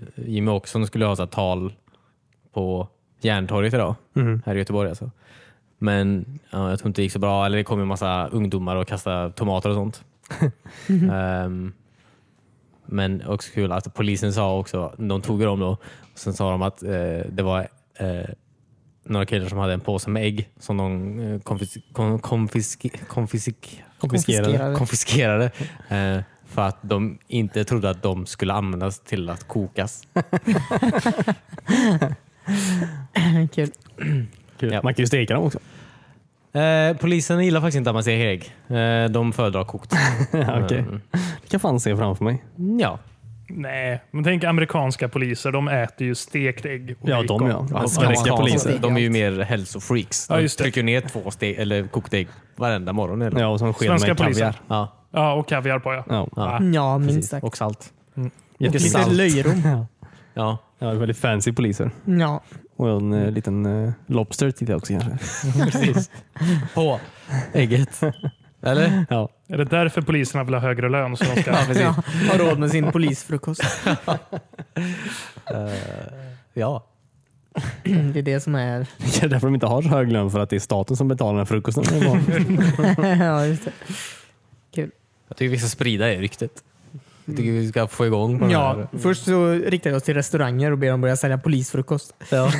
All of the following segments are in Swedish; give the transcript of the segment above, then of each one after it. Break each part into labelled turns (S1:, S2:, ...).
S1: Eh, Jimmy Åkesson skulle ha så här tal på Järntorget idag, här i Göteborg alltså. Men ja, jag tror inte det gick så bra. Eller det kom en massa ungdomar och kastade tomater och sånt. Ehm, men också kul att polisen sa också, de tog ju dem då, och sen sa de att eh, det var eh, några killar som hade en påse med ägg som de eh, konfis, kon, konfisk, konfisik,
S2: Konfiskerade.
S1: konfiskerade eh, för att de inte trodde att de skulle användas till att kokas.
S3: Kul.
S2: Kul.
S1: Ja.
S2: Man kan ju steka dem också.
S1: Eh, polisen gillar faktiskt inte att man säger ägg. Eh, de föredrar kokt.
S2: Okej.
S1: Mm.
S2: Det kan fan se framför mig.
S3: Mm,
S1: Ja,
S4: Nej, men tänk amerikanska poliser. De äter ju stekt ägg och
S2: Ja,
S4: bacon.
S2: de ja.
S1: amerikanska
S2: Amerikanska
S1: poliser.
S2: poliser.
S1: De är ju mer hälsofreaks. De
S4: Ja, just det.
S1: trycker ner två steg, eller kokta ägg varenda morgon. Eller?
S2: Ja, och som sked
S4: Svenska
S2: med
S4: poliser.
S2: kaviar.
S1: Ja,
S4: Ja, och kaviar på ja.
S2: Ja.
S1: ja,
S3: Ja, minst
S1: precis.
S3: sagt.
S1: Och salt.
S3: Och lite
S2: Jättesalt.
S3: löjrom.
S1: Ja.
S2: Ja, det är väldigt fancy poliser.
S3: Ja.
S2: Och en eh, liten eh, Lobster till det också kanske.
S1: Precis. På ägget. Eller?
S2: Ja.
S4: Är det därför poliserna vill ha högre lön? Så de ska...
S3: ja. Har råd med sin polisfrukost.
S1: Ja.
S3: Det är det som är...
S2: Det är därför de inte har så hög lön, för att det är staten som betalar den här frukosten.
S3: ja, just det.
S1: Jag tycker vi ska sprida det ryktet. Jag tycker vi ska få igång på den
S3: Ja,
S1: här.
S3: först så riktar vi oss till restauranger och ber dem börja sälja polisfrukost.
S1: Ja.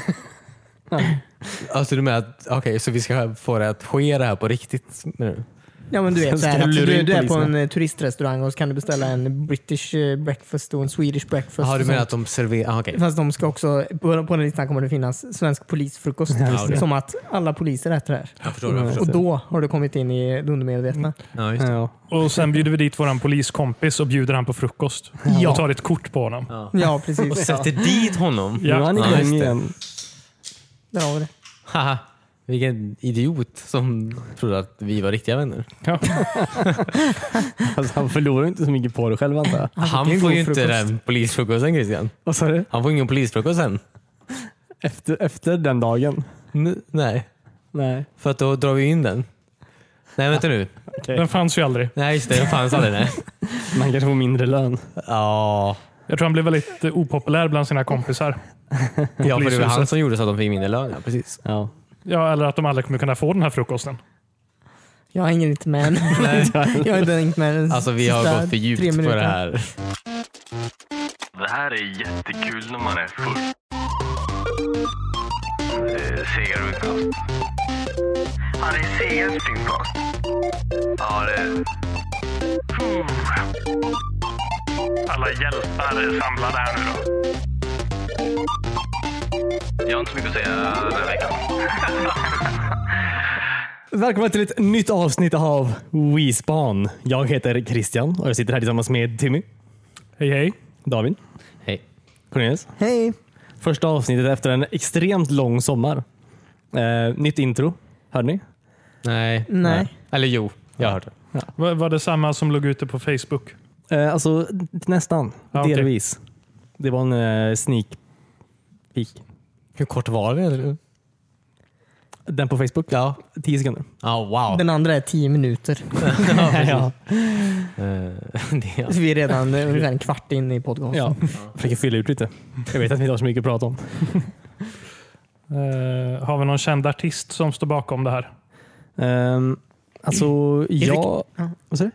S1: Alltså du menar att, okej, så vi ska få det att ske det här på riktigt nu?
S3: Ja men du vet,
S2: Ska
S3: så här, att
S2: du lura
S3: du,
S2: in
S3: du är på en
S2: poliserna?
S3: eh, turistrestaurang och så kan du beställa en British eh, breakfast och en Swedish breakfast.
S1: Jaha,
S3: och
S1: du menar att
S3: sånt.
S1: de serverar, ah, okej.
S3: Fast de ska också, på, på den listan kommer det finnas svensk polisfrukost.
S1: det.
S3: Som att alla poliser äter det här.
S1: Jag förstår, jag
S3: Och
S1: förstår.
S3: då har du kommit in i det undermedvetna.
S1: Ja, just det.
S2: Ja.
S4: Och sen bjuder vi dit vår poliskompis och bjuder han på frukost.
S3: Ja.
S4: Och tar ett kort på honom.
S1: Ja.
S3: Ja,
S1: Och
S3: precis.
S1: sätter dit honom?
S2: Nu är han
S1: Ja, just
S2: igång
S1: det.
S2: igen.
S3: Där har vi det.
S1: Haha, vilken idiot som trodde att vi var riktiga vänner.
S4: Ja.
S2: Alltså, han förlorar ju inte så mycket på det själv antar jag.
S1: Han
S3: en
S1: får
S3: god
S1: ju inte
S3: frukost.
S1: den polisfrukosten Christian.
S2: Vad sa du?
S1: Han får ingen polisfrukost sen.
S2: Efter, efter den dagen?
S1: N- nej,
S2: Nej.
S1: för att då drar vi in den. Nej, vänta nu.
S4: Den fanns ju aldrig.
S1: Nej, just det. Den fanns aldrig. Nej.
S2: Man kanske får mindre lön.
S1: Ja,
S4: Jag tror han blev väldigt eh, opopulär bland sina kompisar.
S1: ja för det var han
S4: polishuset.
S1: som gjorde så att de fick mindre lön. Ja, precis.
S2: Ja.
S4: Ja, eller att de aldrig kommer kunna få den här frukosten.
S3: Jag hänger inte med än. Jag har inte hängt med den
S1: Alltså vi har
S3: sista
S1: gått för
S3: tre
S1: djupt på
S3: minuterna.
S1: det här.
S5: Det här är jättekul när man är full. Eh, Segervinkast. Ja, det är Segers vinkast. Ja, det är Hmm. Alla hjältar är samlade här nu då. Jag har inte så mycket att säga den här veckan.
S2: Välkomna till ett nytt avsnitt av WeSpan. Jag heter Christian och jag sitter här tillsammans med Timmy,
S4: Hej hej.
S2: David,
S1: Hej.
S2: Cornelius.
S3: Hej!
S2: Första avsnittet efter en extremt lång sommar. Eh, nytt intro. Hörde ni?
S1: Nej.
S3: Nej.
S1: Eller jo, jag har hört det.
S4: Var, var det samma som låg ute på Facebook?
S2: Eh, alltså nästan.
S4: Ja, okej.
S2: Delvis. Det var en eh, sneak peek.
S1: Hur kort var det?
S2: Den på Facebook? Ja. Tio sekunder.
S1: Ja, wow.
S3: Den andra är tio minuter.
S2: ja.
S1: Eh, det,
S3: Så vi är redan eh, ungefär en kvart in i podcasten.
S2: ja. Försöker fylla ut lite. Jag vet att vi inte har så mycket att prata om.
S4: Eh, har vi någon känd artist som står bakom det här?
S2: Ehm, alltså, jag...
S3: Ja.
S2: Vad säger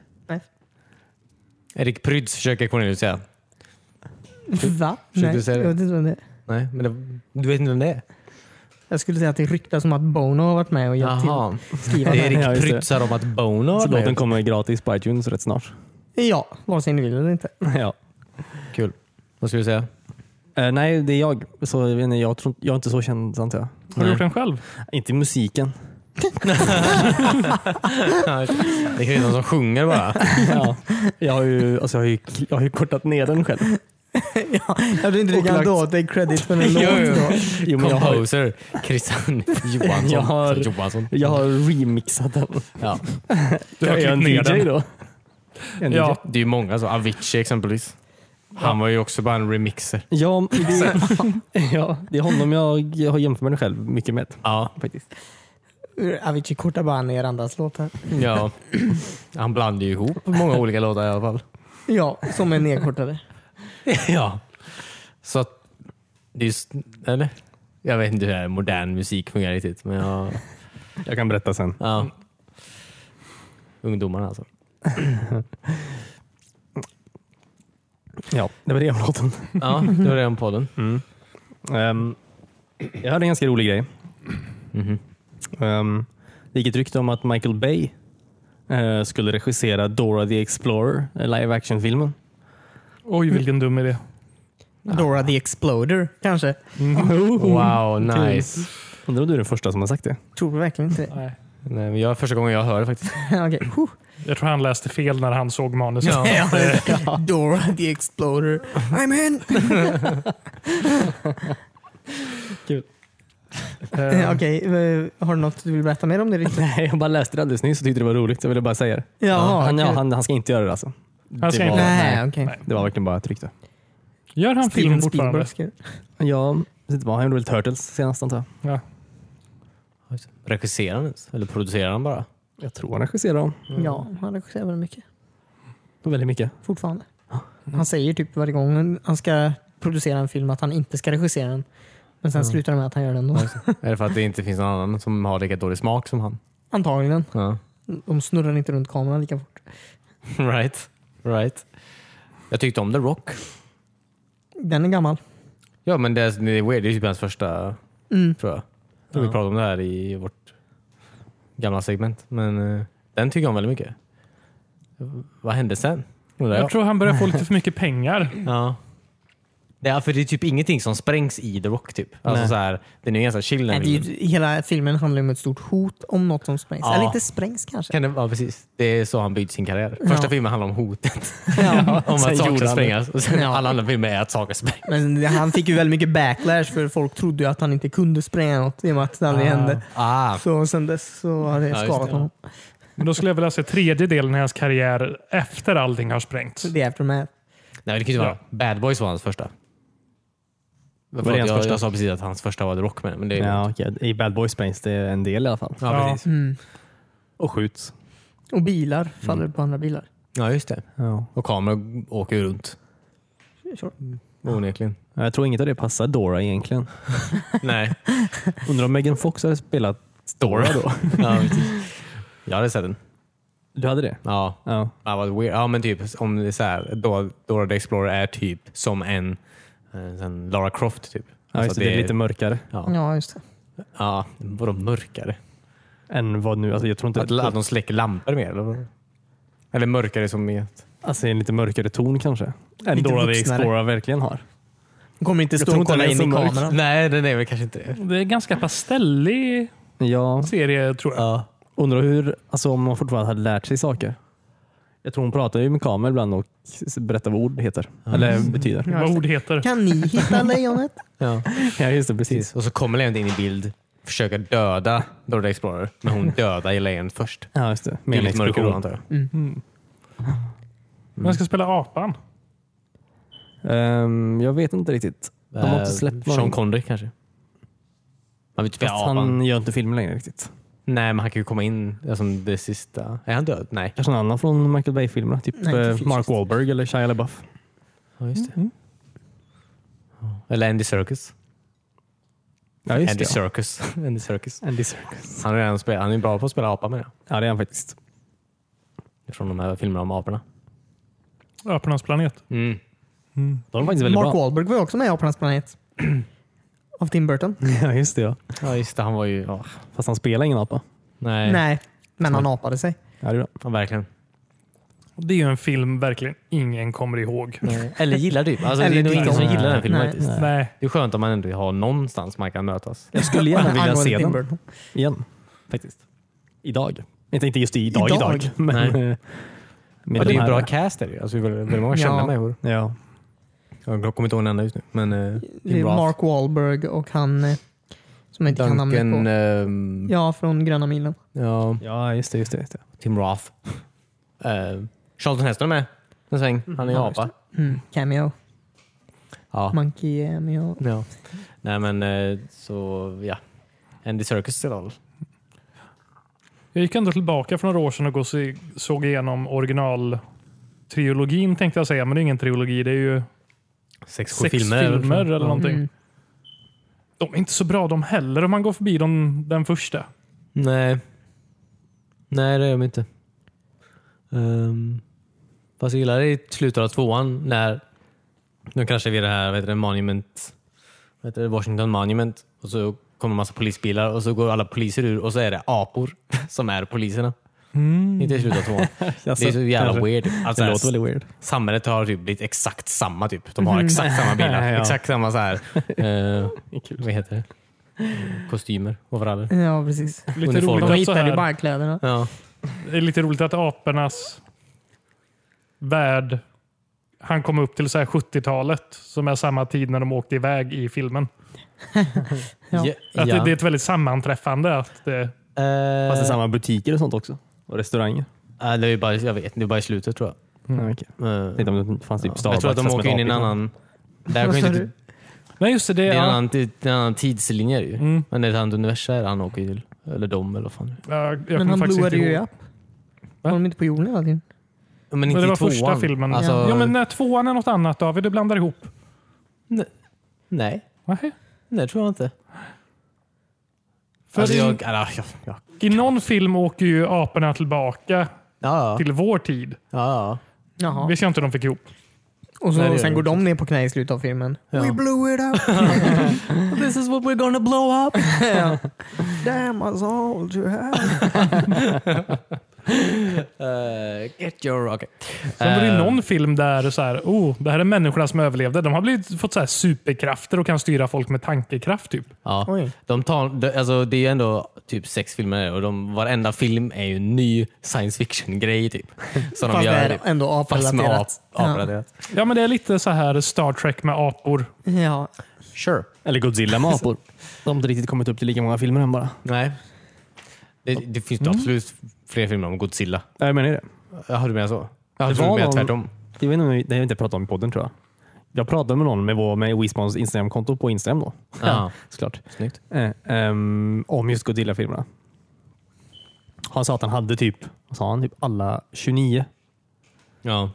S1: Erik Prytz försöker Cornelius säga.
S3: Va?
S1: Försökte
S3: Nej,
S1: du säga det?
S3: jag vet inte vem det är.
S1: Nej, men det, du vet inte vem det är?
S3: Jag skulle säga att det ryktas om att Bono har varit med och hjälpt till.
S1: Jaha.
S3: Skriva
S1: Det är Erik
S2: Ja, just det.
S1: Prytzar om att Bono
S2: du?
S1: har
S2: Så
S1: varit
S2: Alltså, låten
S1: med.
S2: kommer gratis på iTunes rätt snart.
S3: Ja, vare sig ni vill eller inte.
S2: ja.
S1: Kul. Vad skulle du säga?
S2: Eh, nej, det är jag. Så, jag, vet inte, jag, tror, jag är inte så känd, antar jag.
S4: Har du gjort den själv?
S2: Inte i musiken.
S1: Det är ju någon som sjunger bara.
S2: ja. jag, har ju, alltså, jag, har ju, jag har ju kortat ner den själv.
S3: ja, jag tror inte du
S2: Och
S3: kan
S2: lagt-
S3: då dig credit för en låt. Då.
S2: Jo, men jag, har,
S1: Composer Christian Johansson.
S2: Jag har-
S1: Johansson.
S2: jag har remixat den.
S1: Ja.
S4: Du har
S2: jag är en
S4: klippt ner
S2: DJ
S4: den.
S2: då. En DJ.
S4: Ja,
S1: Det är ju många så. Avicii exempelvis. Han var ju också bara en remixer.
S2: Ja, det, ja, det är honom jag, jag har jämfört mig själv mycket med.
S1: Ja.
S2: Faktiskt.
S3: Avicii kortar bara ner andras låtar.
S1: ja. Han blandade ju ihop många olika låtar i alla fall.
S3: Ja, som är nedkortade.
S1: Ja. Så att, det är just, eller? Jag vet inte hur det här modern musik fungerar riktigt, men jag,
S2: Jag kan berätta sen.
S1: ja. Ungdomarna alltså.
S2: Ja, det var det om låten.
S1: Ja, det var det om podden.
S2: Ehm, jag hörde en ganska rolig grej. Mhm. Ehm, det gick ett rykte om att Michael Bay eh, skulle regissera Dora the Explorer, eh, live action-filmen.
S4: Oj, vilken dum idé.
S3: Dora the Exploder kanske?
S4: Mm.
S1: Wow, nice.
S2: Undrar om du är den första som har sagt det?
S3: Tror du verkligen inte det?
S4: Nej.
S1: Nej, men jag, första gången jag hör det faktiskt.
S3: Okej, huh.
S4: Jag tror han läste fel när han såg manuset.
S3: Dora the Exploder. I'm in!
S4: Eh,
S3: Eh, Okej, eh, har du något du vill berätta mer om det? Richard?
S2: Nej, jag bara läste det alldeles nyss och tyckte det var roligt. Jag ville bara säga det.
S3: Jaha,
S2: han, ja,
S3: okej.
S2: han, han ska inte göra det alltså.
S4: Han ska
S2: det
S4: inte-
S2: var,
S3: Nej, okej.
S4: Nej.
S2: Det var verkligen bara ett rykte.
S4: Gör han film
S3: Steven
S4: fortfarande?
S3: Spielberg ska...
S2: Ja, jag vet inte vad. Han gjorde väl Turtles senast antar jag.
S4: Ja.
S1: Regisserar han ens? Eller producerar han bara?
S2: Jag tror han regisserar dem.
S4: Mm.
S3: Ja, han regisserar väldigt mycket.
S2: Det var Väldigt mycket.
S3: Fortfarande. Han säger typ varje gång han ska producera en film att han inte ska regissera den. Men sen
S4: Mm.
S3: slutar det med att han gör den då.
S1: Eller för att det inte finns någon annan som har lika dålig smak som han?
S3: Antagligen.
S1: Ja.
S3: De snurrar inte runt kameran lika fort.
S1: Right. right. Jag tyckte om The Rock.
S3: Den är gammal.
S1: Ja, men det är, det är weird. Det är typ hans första, tror jag. Jag tror vi pratade om det här i vårt gamla segment. Men eh, den tycker jag om väldigt mycket. Vad hände sen? Undrar
S4: Jag
S1: jag.
S4: tror han börjar få lite för mycket pengar.
S1: Ja. Det är, för det är typ ingenting som sprängs i The Rock. Typ. Alltså,
S2: Nej.
S1: så här, den är ganska chill den
S3: Nej, det är
S1: filmen.
S3: ju, hela filmen handlar ju om ett stort hot om något som sprängs.
S1: Ja.
S3: Eller inte sprängs kanske.
S1: Kan det, ja, precis. Det är så han byggt sin karriär. Första
S3: Ja.
S1: filmen handlar om hotet.
S3: Ja.
S1: om
S2: sen
S1: att saker
S2: gjorde han
S1: sprängs. Och sen
S3: Ja.
S1: alla andra filmer är att saker sprängs.
S3: Men det- han fick ju väldigt mycket backlash för folk trodde ju att han inte kunde spränga något i och med att det aldrig hände.
S1: Ah.
S3: Så sen dess så har det
S1: Ja, just
S3: skadat
S1: det.
S3: honom.
S4: Men då skulle jag vilja se tredje delen i hans karriär efter allting har sprängts.
S3: Det är aftermath.
S1: Nej, det kan ju inte vara.
S4: Ja.
S1: Bad Boys var hans första.
S2: Var
S1: Förlåt,
S2: det hans
S1: jag,
S2: första?
S1: jag sa precis att hans första var The Rock med, men det är
S2: Ja, okej. I Bad Boys sprängs det en del i alla fall.
S1: Ja, precis.
S3: Mm.
S2: Och skjuts.
S3: Och bilar faller på andra bilar.
S1: Ja, just det.
S2: Ja.
S1: Och kameror åker ju runt.
S3: Sure.
S1: Onekligen.
S2: Jag tror inget av det passar Dora egentligen.
S1: Nej.
S2: Undrar om Megan Fox hade spelat Dora då?
S1: Ja, precis. Jag hade sett den.
S2: Du hade det?
S1: Ja.
S2: Ja.
S1: ja, vad weird. Ja, men typ om det är så här. Dora- Dora the Explorer är typ som en, eh, en sån Lara Croft. Typ.
S2: ja just det, det är lite mörkare
S1: Ja,
S3: Ja, just det.
S1: ja vadå mörkare?
S2: än vad nu... Alltså jag tror inte...
S1: Att, att de släcker lampor mer? Eller, vad? eller mörkare som i att...
S2: Alltså en lite mörkare ton kanske. Än
S3: Lite
S2: Dora the
S3: vuxnare.
S2: Explorer verkligen har.
S3: De kommer inte
S2: Jag
S3: stå
S2: tror
S3: och
S2: inte
S3: kolla
S2: den är
S3: in
S2: så
S3: i
S2: mörk.
S3: kameran.
S1: Nej, den är väl kanske inte det.
S4: Det är en ganska pastellig
S2: Ja,
S4: serie tror jag.
S1: Ja.
S2: undrar hur... Alltså om hon fortfarande hade lärt sig saker. Jag tror hon pratar ju med kameror ibland och s- berättar vad ord heter. Eller betyder.
S4: Vad ord heter.
S3: Kan ni hitta lejonet?
S1: Ja.
S2: Ja, just det. Precis.
S1: Och så kommer lejonet in i bild, försöker döda Dora the Explorer, men hon dödar ju lejonet först.
S2: Ja, just det.
S1: Det
S2: Med
S1: är
S2: en
S1: lite mörkare
S2: explosion.
S1: antar jag.
S4: Vem ska spela apan?
S2: Ehm, jag vet inte riktigt. De har inte släppt
S1: Eh, Sean
S2: någon.
S1: Connery kanske? Man vet ju
S2: Fast
S1: han...
S2: han gör inte film längre riktigt.
S1: Nej, men han kan ju komma in alltså, det sista. Är han död? Nej.
S2: Kanske någon annan från Michael Bay-filmerna. Typ
S3: Nej, inte
S2: eh,
S3: fysiskt.
S2: Mark Wahlberg eller Shia LaBeouf.
S1: Ja, just det. Ja. Eller Andy Serkis.
S2: Ja, just
S1: Andy
S2: det. Ja.
S1: Serkis. Andy Serkis.
S2: Andy Serkis.
S1: Han, har redan spelat, han är bra på att spela apa med
S2: Ja, det är han faktiskt.
S1: jag. Från de här filmerna om aporna.
S4: Apornas planet.
S1: Mm.
S2: De är faktiskt väldigt
S3: Mark
S2: bra.
S3: Wahlberg var ju också med i Apornas planet. Av Tim Burton.
S2: Ja, just det. Ja.
S1: Ja, just det. Han var ju... ja.
S2: Fast han spelar ingen apa.
S1: Nej.
S3: Nej, men han apade sig.
S2: Ja, det är bra.
S1: Ja, verkligen.
S4: Det är ju en film verkligen ingen kommer ihåg.
S1: Eller gillar du. Alltså, det
S3: Eller
S1: är nog
S3: tycker
S1: ingen som
S3: om.
S1: gillar den filmen
S3: Nej.
S1: faktiskt.
S4: Nej.
S1: Det är skönt om man ändå har någonstans man kan mötas.
S2: Jag skulle gärna vilja
S3: Angående
S2: se
S3: Tim
S2: den
S3: Burton.
S2: igen. Faktiskt. Idag. Inte, inte just idag,
S3: Idag?
S2: idag. Men,
S1: Nej.
S2: eh, med
S1: Ja, det
S2: de
S1: är en
S2: här-
S1: bra cast. Är det. ju. Alltså, det är väldigt väldigt många kända
S3: Ja.
S1: människor.
S2: Ja.
S1: Jag kommer inte ihåg en enda just nu. Men, eh,
S3: Det är
S1: Roth.
S3: Mark Wahlberg och han eh, som jag inte kan namnet
S1: Duncan...
S3: på.
S1: ehm,
S3: Ja, från Gröna milen.
S1: ja.
S2: ja, just det. Just det, just det.
S1: Tim Roth. Uh, Charlton Heston är med en sväng. Han är ju
S3: ja,
S1: apa.
S3: Mm. Cameo.
S1: Ja.
S3: Monkey cameo.
S1: ja. Nej men eh, så ja. Andy Serkis i alla fall.
S4: Jag gick ändå tillbaka för några år sedan och gå och se- såg igenom originaltrilogin tänkte jag säga, men det är ingen trilogi. Det är ju
S1: Sex, sju
S4: sex
S1: filmer.
S4: filmer,
S1: eller vad
S4: eller
S1: fan.
S4: någonting.
S3: Mm.
S4: De är inte så bra de heller om man går förbi de, den första.
S1: Nej. Nej, det är de inte. Um, fast jag gillar det i slutet av tvåan när de kraschar vid det här vad heter det, monument, vad heter det, Washington Monument och så kommer en massa polisbilar och så går alla poliser ur och så är det apor som är poliserna. Inte i slutet av tvåan. det är så jävla weird. Alltså,
S2: Det låter väldigt weird.
S1: Samhället har typ blivit exakt samma. typ. De har exakt samma bilar,
S2: Ja.
S1: exakt samma så här, eh, vad heter det? kostymer, overaller.
S3: Ja, precis.
S4: Lite
S1: Uniform. De
S4: roligt,
S3: De
S4: att så
S3: hittade ju
S4: här,
S3: bara kläderna.
S1: Ja.
S4: det är lite roligt att apornas värld han kom upp till så här 70-talet som är samma tid när de åkte iväg i filmen.
S3: Ja.
S4: Att
S1: Ja.
S4: det, det är ett väldigt sammanträffande. Att det,
S1: Eh,
S2: Fast det är samma butiker och sånt också? Och restauranger?
S1: ja, det är ju bara, jag vet, det är bara i slutet tror jag.
S2: Mm. okej.
S1: Eh,
S2: Tänkte om det fanns typ
S1: jag
S2: Starbucks
S1: tror att de
S2: som
S1: åker
S2: ett
S1: in i en
S2: apik.
S1: annan... Där
S3: Vad
S1: går
S3: sa
S1: inte,
S3: du?
S4: nej just det, det,
S1: det är en
S4: ja,
S1: annan, tid- det är en annan tidslinje. Ju.
S4: Mm.
S1: Men det är ett annat universum han åker till. Eller de eller vad fan det är.
S4: jag, jag
S3: Men
S4: kommer
S3: han
S4: faktiskt inte
S3: blåade ju
S4: ihåg.
S3: upp. Var de inte på jorden hela tiden?
S1: Men inte
S4: Men det
S1: i
S4: var
S1: tvåan.
S4: första filmen.
S1: Alltså,
S4: Ja, men när tvåan är något annat David, du blandar ihop.
S1: Nej,
S4: Nej.
S1: det tror jag inte.
S4: För
S1: alltså,
S4: i,
S1: jag, alla, ja, ja,
S4: I någon film åker ju aporna tillbaka
S1: ja, ja,
S4: till vår tid.
S1: ja,
S3: Jaha.
S4: Vet jag inte om de fick ihop.
S3: Och
S1: Nej, det
S3: så,
S1: gör
S3: sen
S1: de
S3: går de ner på knä i slutet av filmen.
S1: Ja.
S3: We blew it up!
S1: ja. This is what we're gonna blow up!
S3: Ja. Damn us all to hell.
S1: Eh, get your rocket.
S4: Sen var det ju
S1: Eh,
S4: någon film där så här, oh, det här är människorna som överlevde. De har blivit, fått så här superkrafter och kan styra folk med tankekraft. Typ.
S1: Ja.
S3: Oj.
S1: De tar, de, alltså, det är ju ändå typ sex filmer där och de, varenda film är ju en ny science fiction-grej. Typ. Så de
S3: Fast det
S1: gör typ
S3: är ändå
S1: fast med ap-
S3: aprelaterat. Ja.
S1: aprelaterat.
S4: Ja, men det är lite så här Star Trek med apor.
S3: ja.
S1: Sure.
S2: Eller Godzilla med apor. De har inte riktigt kommit upp till lika många filmer än bara.
S1: Nej. Det, det finns
S3: Mm.
S1: ju absolut fler filmer om Godzilla.
S2: Ja, jag menar ju det.
S1: Jaha, du menar så? Jag
S2: Det
S1: trodde du
S2: var
S1: menade
S2: någon-
S1: tvärtom.
S2: Det vet inte om vi- det har vi inte pratat om i podden tror jag. Jag pratade med någon med, vår, med Wismans Instagram-konto på Instagram då.
S1: Ja.
S2: Såklart.
S1: Snyggt.
S2: Eh, ehm, om just Godzilla-filmerna. Han sa att han hade typ, vad sa han, typ alla 29.
S1: Ja.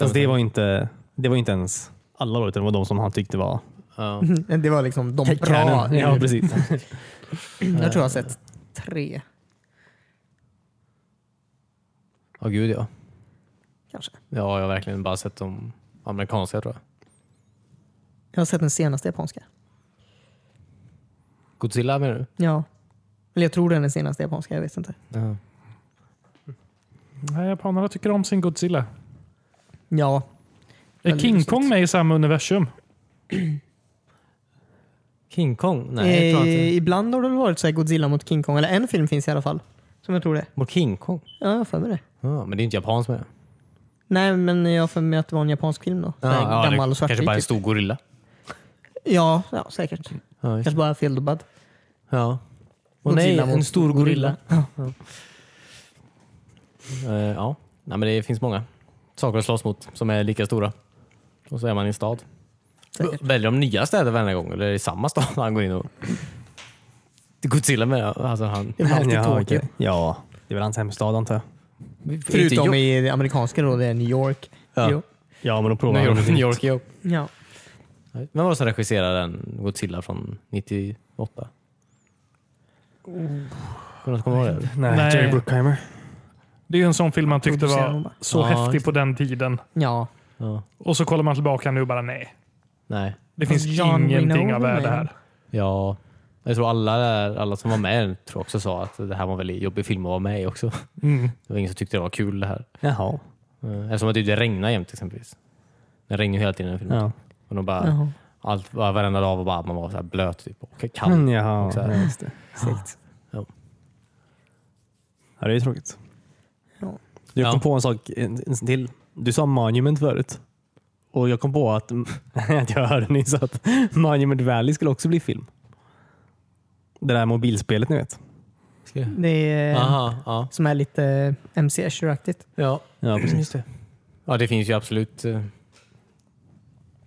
S2: Alltså det, var inte, det var inte ens alla då, utan det var de som han tyckte var
S1: ja.
S3: Det var liksom de bra.
S2: Canon. Ja, precis.
S3: Jag tror jag har sett tre
S1: Åh gud ja.
S3: kanske.
S1: Ja, jag har verkligen bara sett de amerikanska tror jag.
S3: Jag har sett den senaste japanska.
S1: Godzilla menar du?
S3: Ja. Eller jag tror det är den senaste japanska, jag vet inte.
S1: Ja.
S4: Nej, japanerna tycker om sin Godzilla.
S3: Ja.
S4: Är
S3: Väldigt
S4: King
S3: lustigt.
S4: Kong med i samma universum?
S1: King Kong? Nej, jag tror
S3: eh,
S1: inte.
S3: Ibland har det väl varit så här Godzilla mot King Kong, eller en film finns i alla fall. Som jag tror det.
S1: Mot King Kong?
S3: Ja, jag har för mig det.
S1: Ja, men det är inte japanskt med det.
S3: Nej, men jag har för mig att det var en japansk film då. Så här
S1: det
S3: gammal och svartvit.
S1: Kanske bara en
S3: typ.
S1: stor gorilla.
S3: Ja, ja, säkert.
S1: Ja, just det.
S3: Kanske bara feldubbad.
S1: Ja. Och nej,
S3: Godzilla
S1: en
S3: mot
S1: stor gorilla.
S3: Ja.
S1: Eh, ja, nej, men det finns många saker att slåss mot som är lika stora. Och så är man i en stad.
S3: Säkert.
S1: Väljer de nya städer varje gång eller är det samma stad han går in och... Godzilla med alltså han...
S3: Det är väl alltid
S2: Ja,
S3: Tokyo.
S2: okej. Ja, det är väl hans hemstad antar jag.
S3: Förutom
S1: Inte-
S3: i det amerikanska då, det är New York.
S1: Ja.
S3: Jo.
S2: Ja, men då provar
S1: New
S2: han.
S1: York. New York ja.
S3: Ja.
S1: Vem var det som regisserade den Godzilla från 98?
S3: Oh.
S1: Kommer du ihåg det?
S2: Nej,
S4: Nej.
S2: Jerry Bruckheimer.
S4: Det är ju en sån film man tyckte
S3: Producerar de
S4: var
S3: bara.
S4: så
S1: Ja,
S4: häftig
S1: just
S4: på den tiden.
S3: ja.
S1: Ja.
S4: Och så kollar man tillbaka nu och bara nej.
S1: Nej.
S4: Det finns
S3: John
S4: ingenting
S3: Winona
S4: av värde
S3: med.
S4: här.
S1: Ja. Jag tror alla, där, alla som var med tror jag också sa att det här var en väldigt jobbig film att vara med i också.
S4: Mm.
S1: Det var ingen som tyckte det var kul det här.
S2: Jaha.
S1: Eh, Eftersom att det det regnar jämt exempelvis. Det regnar ju hela tiden i den filmen.
S2: Ja.
S1: Och de bara,
S3: Jaha.
S1: allt, var- varenda dag var bara, man var så här blöt typ, och kall.
S2: Mm, jaha.
S1: Och så här.
S2: Ja, just det.
S3: Segt.
S2: Ja, det är ju tråkigt.
S3: Ja.
S2: Jag kom
S1: Ja.
S2: på en sak en, en till. Du sa Monument förut. Och jag kom på att, att jag hörde nyss att Monument Valley skulle också bli film. Det där mobilspelet ni vet.
S3: Det är
S1: Aha, ja.
S3: som är lite MC Escher-aktigt.
S1: Ja,
S2: Ja, precis.
S1: det. Ja, det finns ju absolut. eh,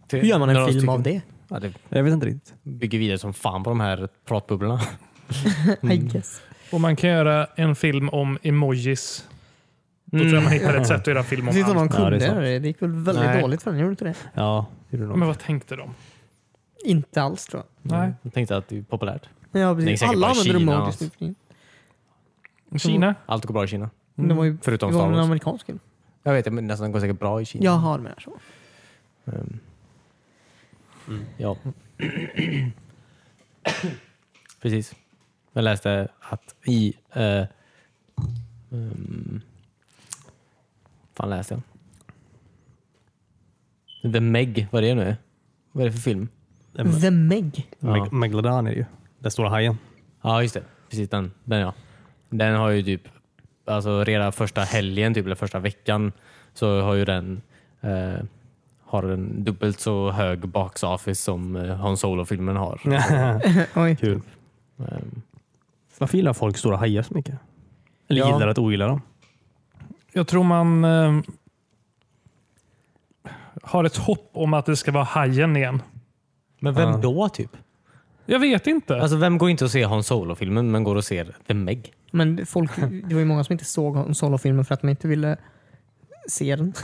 S1: till-
S3: Hur gör man en
S1: några
S3: film
S1: stycken.
S3: av det?
S1: Ja, det
S2: Jag vet inte riktigt.
S1: bygger vidare som fan på de här pratbubblorna. Mm.
S3: I guess.
S4: Och man kan göra en film om emojis.
S1: Mm.
S4: Då tror jag man hittar ett sätt att göra film om
S3: Precis som
S4: allt.
S3: de
S2: Ja, det är
S3: kunde
S2: sant.
S3: göra det. Det gick väl väldigt
S1: Nej.
S3: dåligt för den, gjorde inte det?
S2: Ja, Gjorde de.
S4: Men vad tänkte de?
S3: Inte alls tror jag.
S4: Nej.
S1: Jag tänkte att det är populärt. Det
S3: Ja,
S1: är
S3: precis.
S1: säkert
S3: Alla
S1: bara
S3: använder
S1: Kina
S3: remote
S1: och
S3: just nu för tiden.
S4: Kina?
S1: Allt går bra i Kina.
S3: Men De var ju
S1: Förutom
S3: det var
S1: Mm. Star
S3: en
S1: Wars. Mm.
S3: amerikansk film.
S1: Jag vet, men nästan går säkert bra i Kina.
S3: Jaha, du menar så.
S1: Ehm. Ja. Precis. Jag läste att i... Eh, um, fan läste jag? The Meg, vad är det nu är. Vad är det för film? Mm.
S3: The Meg.
S1: Ja.
S2: Meg- Megalodon är det ju. Den stora hajen.
S1: Ja, just det. Precis den. Den ja. Den har ju typ, alltså redan första helgen, typ, eller första veckan, så har ju den eh, har en dubbelt så hög box office som eh, Han Solo-filmen har.
S3: Oj.
S2: Kul.
S1: Ehm,
S2: Varför gillar folk stora hajar så mycket? Eller
S1: Ja.
S2: gillar att ogilla dem?
S4: Jag tror man eh, har ett hopp om att det ska vara hajen igen.
S1: Men vem
S2: Ja.
S1: då typ?
S4: Jag vet inte.
S1: Alltså vem går inte och ser Han Solo-filmen men går och ser The Meg?
S3: Men folk, det var ju många som inte såg Solo-filmen för att de inte ville se den.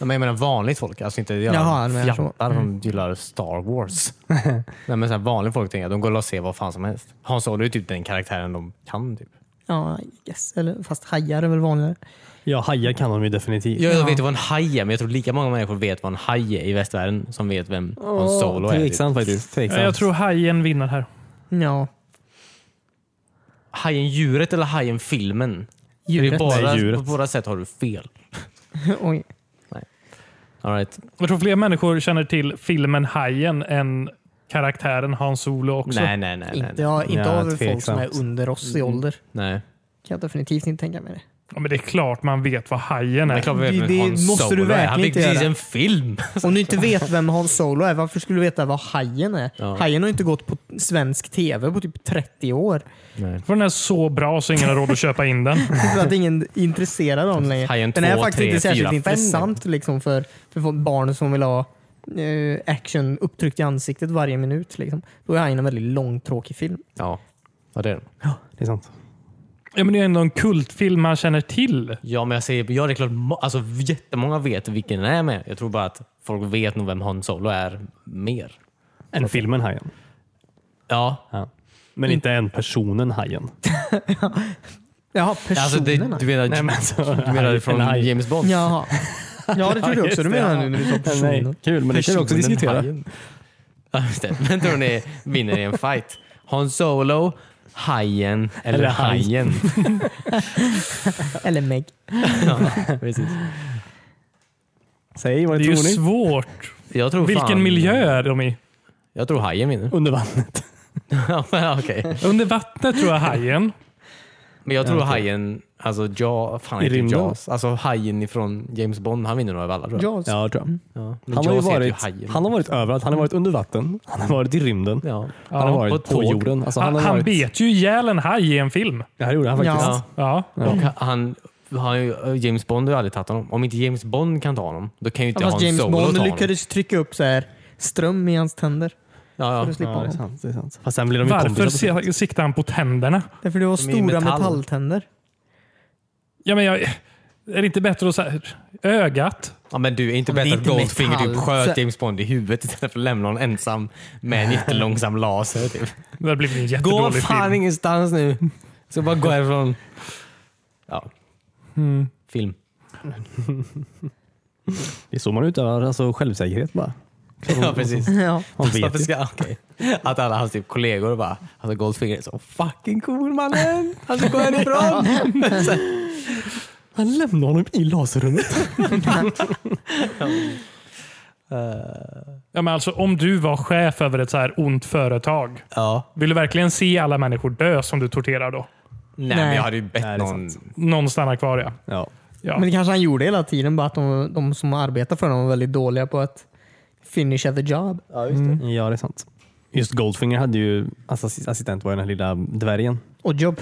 S1: Nej, men jag menar vanligt folk, alltså inte jävla
S3: Jaha, du menar så.
S1: fjattar som gillar Star Wars. Nej, men så här, vanligt folk tänker att de går och ser vad fan som helst. Han Solo är typ den karaktären de kan. Typ.
S3: Ja, yes. Eller, fast hajar är väl vanligare.
S2: Ja, hajar kan de ju definitivt.
S1: Jag, jag
S3: Ja.
S1: vet inte vad en haj är, men jag tror lika många människor vet vad en haj är i västvärlden som vet vem Han Solo är. Typ.
S2: Tveksamt faktiskt.
S4: Ja, jag tror hajen vinner här.
S3: Ja,
S1: Hajen djuret eller hajen filmen? Djuret.
S3: djuret.
S1: Det är
S2: Nej,
S1: båda,
S2: djuret.
S1: på båda sätt har du fel.
S3: Oj.
S1: All right.
S4: Jag tror fler människor känner till filmen Hajen än karaktären Hans Solo också.
S1: Nej, nej, nej. nej, Mm.
S3: Inte,
S1: nej.
S3: ja, inte
S2: Ja,
S3: av folk som
S2: tveksamt.
S3: är under oss i ålder.
S1: nej.
S3: Kan jag definitivt inte tänka mig det.
S4: Ja, men det är klart man vet vad hajen
S1: Men
S4: är.
S1: klart vi
S3: Det-
S1: vet
S3: det
S1: vem Han
S3: måste
S1: Solo
S3: du
S1: är. Han
S3: verkligen
S1: fick
S3: inte
S1: precis
S3: göra.
S1: en film.
S3: Om du inte vet vem Han Solo är, varför skulle du veta vad Hajen är?
S1: Ja.
S3: Hajen har inte gått på svensk tv på typ 30 år.
S4: För den är så bra så ingen har råd att köpa in den.
S3: För Typ att ingen är intresserad av den längre.
S1: Alltså, Hajen
S3: den är
S1: två,
S3: faktiskt
S1: tre,
S3: inte särskilt
S1: fyra, fem.
S3: intressant liksom, för, för folk- barn som vill ha eh, action upptryckt i ansiktet varje minut. Liksom. Då är Hajen en väldigt långtråkig film.
S1: Ja, ja det är den.
S2: Det är sant.
S4: Ja, men det är ändå en kultfilm man känner till.
S1: Ja, men jag säger, ja, det är klart, må- alltså, jättemånga vet vilken den är med. Jag tror bara att folk vet nog vem Han Solo är mer.
S2: En filmen Hajen.
S1: Ja,
S2: Men inte en personen Hajen.
S3: Jaha,
S1: alltså, det,
S3: personerna?
S1: du menar,
S2: Nej, men alltså,
S1: du menar
S2: haj-
S1: från
S2: en haj.
S1: James Bond?
S3: Jaha. Ja, det trodde jag också du menade nu när du sa personer.
S2: Nej, kul, men det kan vi också
S1: Personen
S2: diskutera.
S1: hajen. Ja, just det. Vem tror ni vinner i en fight? Han Solo, Hajen eller,
S2: Eller haj.
S1: Hajen?
S3: Eller Meg.
S1: ja, precis.
S2: Säg vad
S4: Det
S2: det
S4: är ju
S2: tror ni?
S4: svårt.
S1: Jag tror
S4: Vilken
S1: fan,
S4: miljö är de i?
S1: Jag tror Hajen vinner.
S2: Under vattnet.
S1: Ja, men Okej.
S4: Under vattnet tror jag hajen.
S1: Men jag tror Hajen, alltså ja, fan
S2: I
S1: heter
S2: rymden?
S1: Jaws. Alltså Hajen ifrån James Bond, han vinner nog av alla tror jag.
S3: Jaws.
S2: Ja, tror jag.
S1: Ja. men
S2: Han har, ju
S1: Jaws heter
S2: varit,
S1: Hajen.
S2: han har varit överallt. Han har varit under vatten. Han har varit i rymden.
S1: Ja.
S2: Han har
S1: på
S2: varit
S1: ett
S2: på,
S1: tåg.
S2: jorden. Alltså,
S4: Han,
S2: har
S4: han
S2: varit...
S4: bet ju ihjäl en haj i en film.
S2: Det här gjorde han faktiskt.
S3: Ja.
S1: Ja.
S4: Ja.
S1: Och han, han har ju- James Bond har ju aldrig tagit honom. Om inte James Bond kan ta honom, då kan ju inte
S3: Ja, fast
S1: Han
S3: James
S1: Solo
S3: Bond
S1: ta honom.
S3: lyckades trycka upp så här ström i hans tänder.
S1: Ja,
S3: För
S1: ja.
S3: att slippa
S2: Ja, det är
S3: honom.
S2: sant. Det är sant. Fast sen blir de ju
S4: Varför
S2: kompisar.
S4: se- siktar han på tänderna?
S3: Därför det var
S1: De är i
S3: stora
S1: metall.
S3: metalltänder.
S4: Ja, men jag, är det inte bättre att säga ögat?
S1: Ja, men du, är inte
S3: Men det
S1: bättre
S3: är
S1: att
S3: inte
S1: Goldfinger typ
S3: metall,
S1: sköt
S3: så-
S1: James Bond i huvudet istället för att lämna honom ensam med en jättelångsam laser? Typ.
S4: Det har blivit en
S1: Gå
S4: jättedålig
S1: fan
S4: film.
S1: ingenstans nu! Så bara gå härifrån. Hmm. Ja. Film.
S2: Det är så man utövar alltså, självsäkerhet bara.
S1: Ja, precis.
S3: Ja.
S2: Man
S1: Fast
S2: vet
S1: varför
S2: ju.
S1: ska, okej. Att alla hans typ, kollegor bara, alltså Goldfinger är så fucking cool mannen! Han ska gå härifrån! Men sen-
S2: Han lämnar honom i laserrummet.
S4: Ja, men alltså, om du var chef över ett så här ont företag,
S1: ja.
S4: vill du verkligen se alla människor dö som du torterar då?
S1: Nej,
S3: Nej.
S1: men jag hade ju bett
S2: Nej, det är
S1: någon...
S4: Någon stannar kvar ja.
S2: Ja.
S4: ja.
S3: Men det kanske han gjorde hela tiden, bara att de, de som arbetar för honom var väldigt dåliga på att finisha the job.
S2: ja, det är sant. Just Goldfinger hade ju alltså, assis- assistent var ju den här lilla dvärgen.
S3: Och jobb.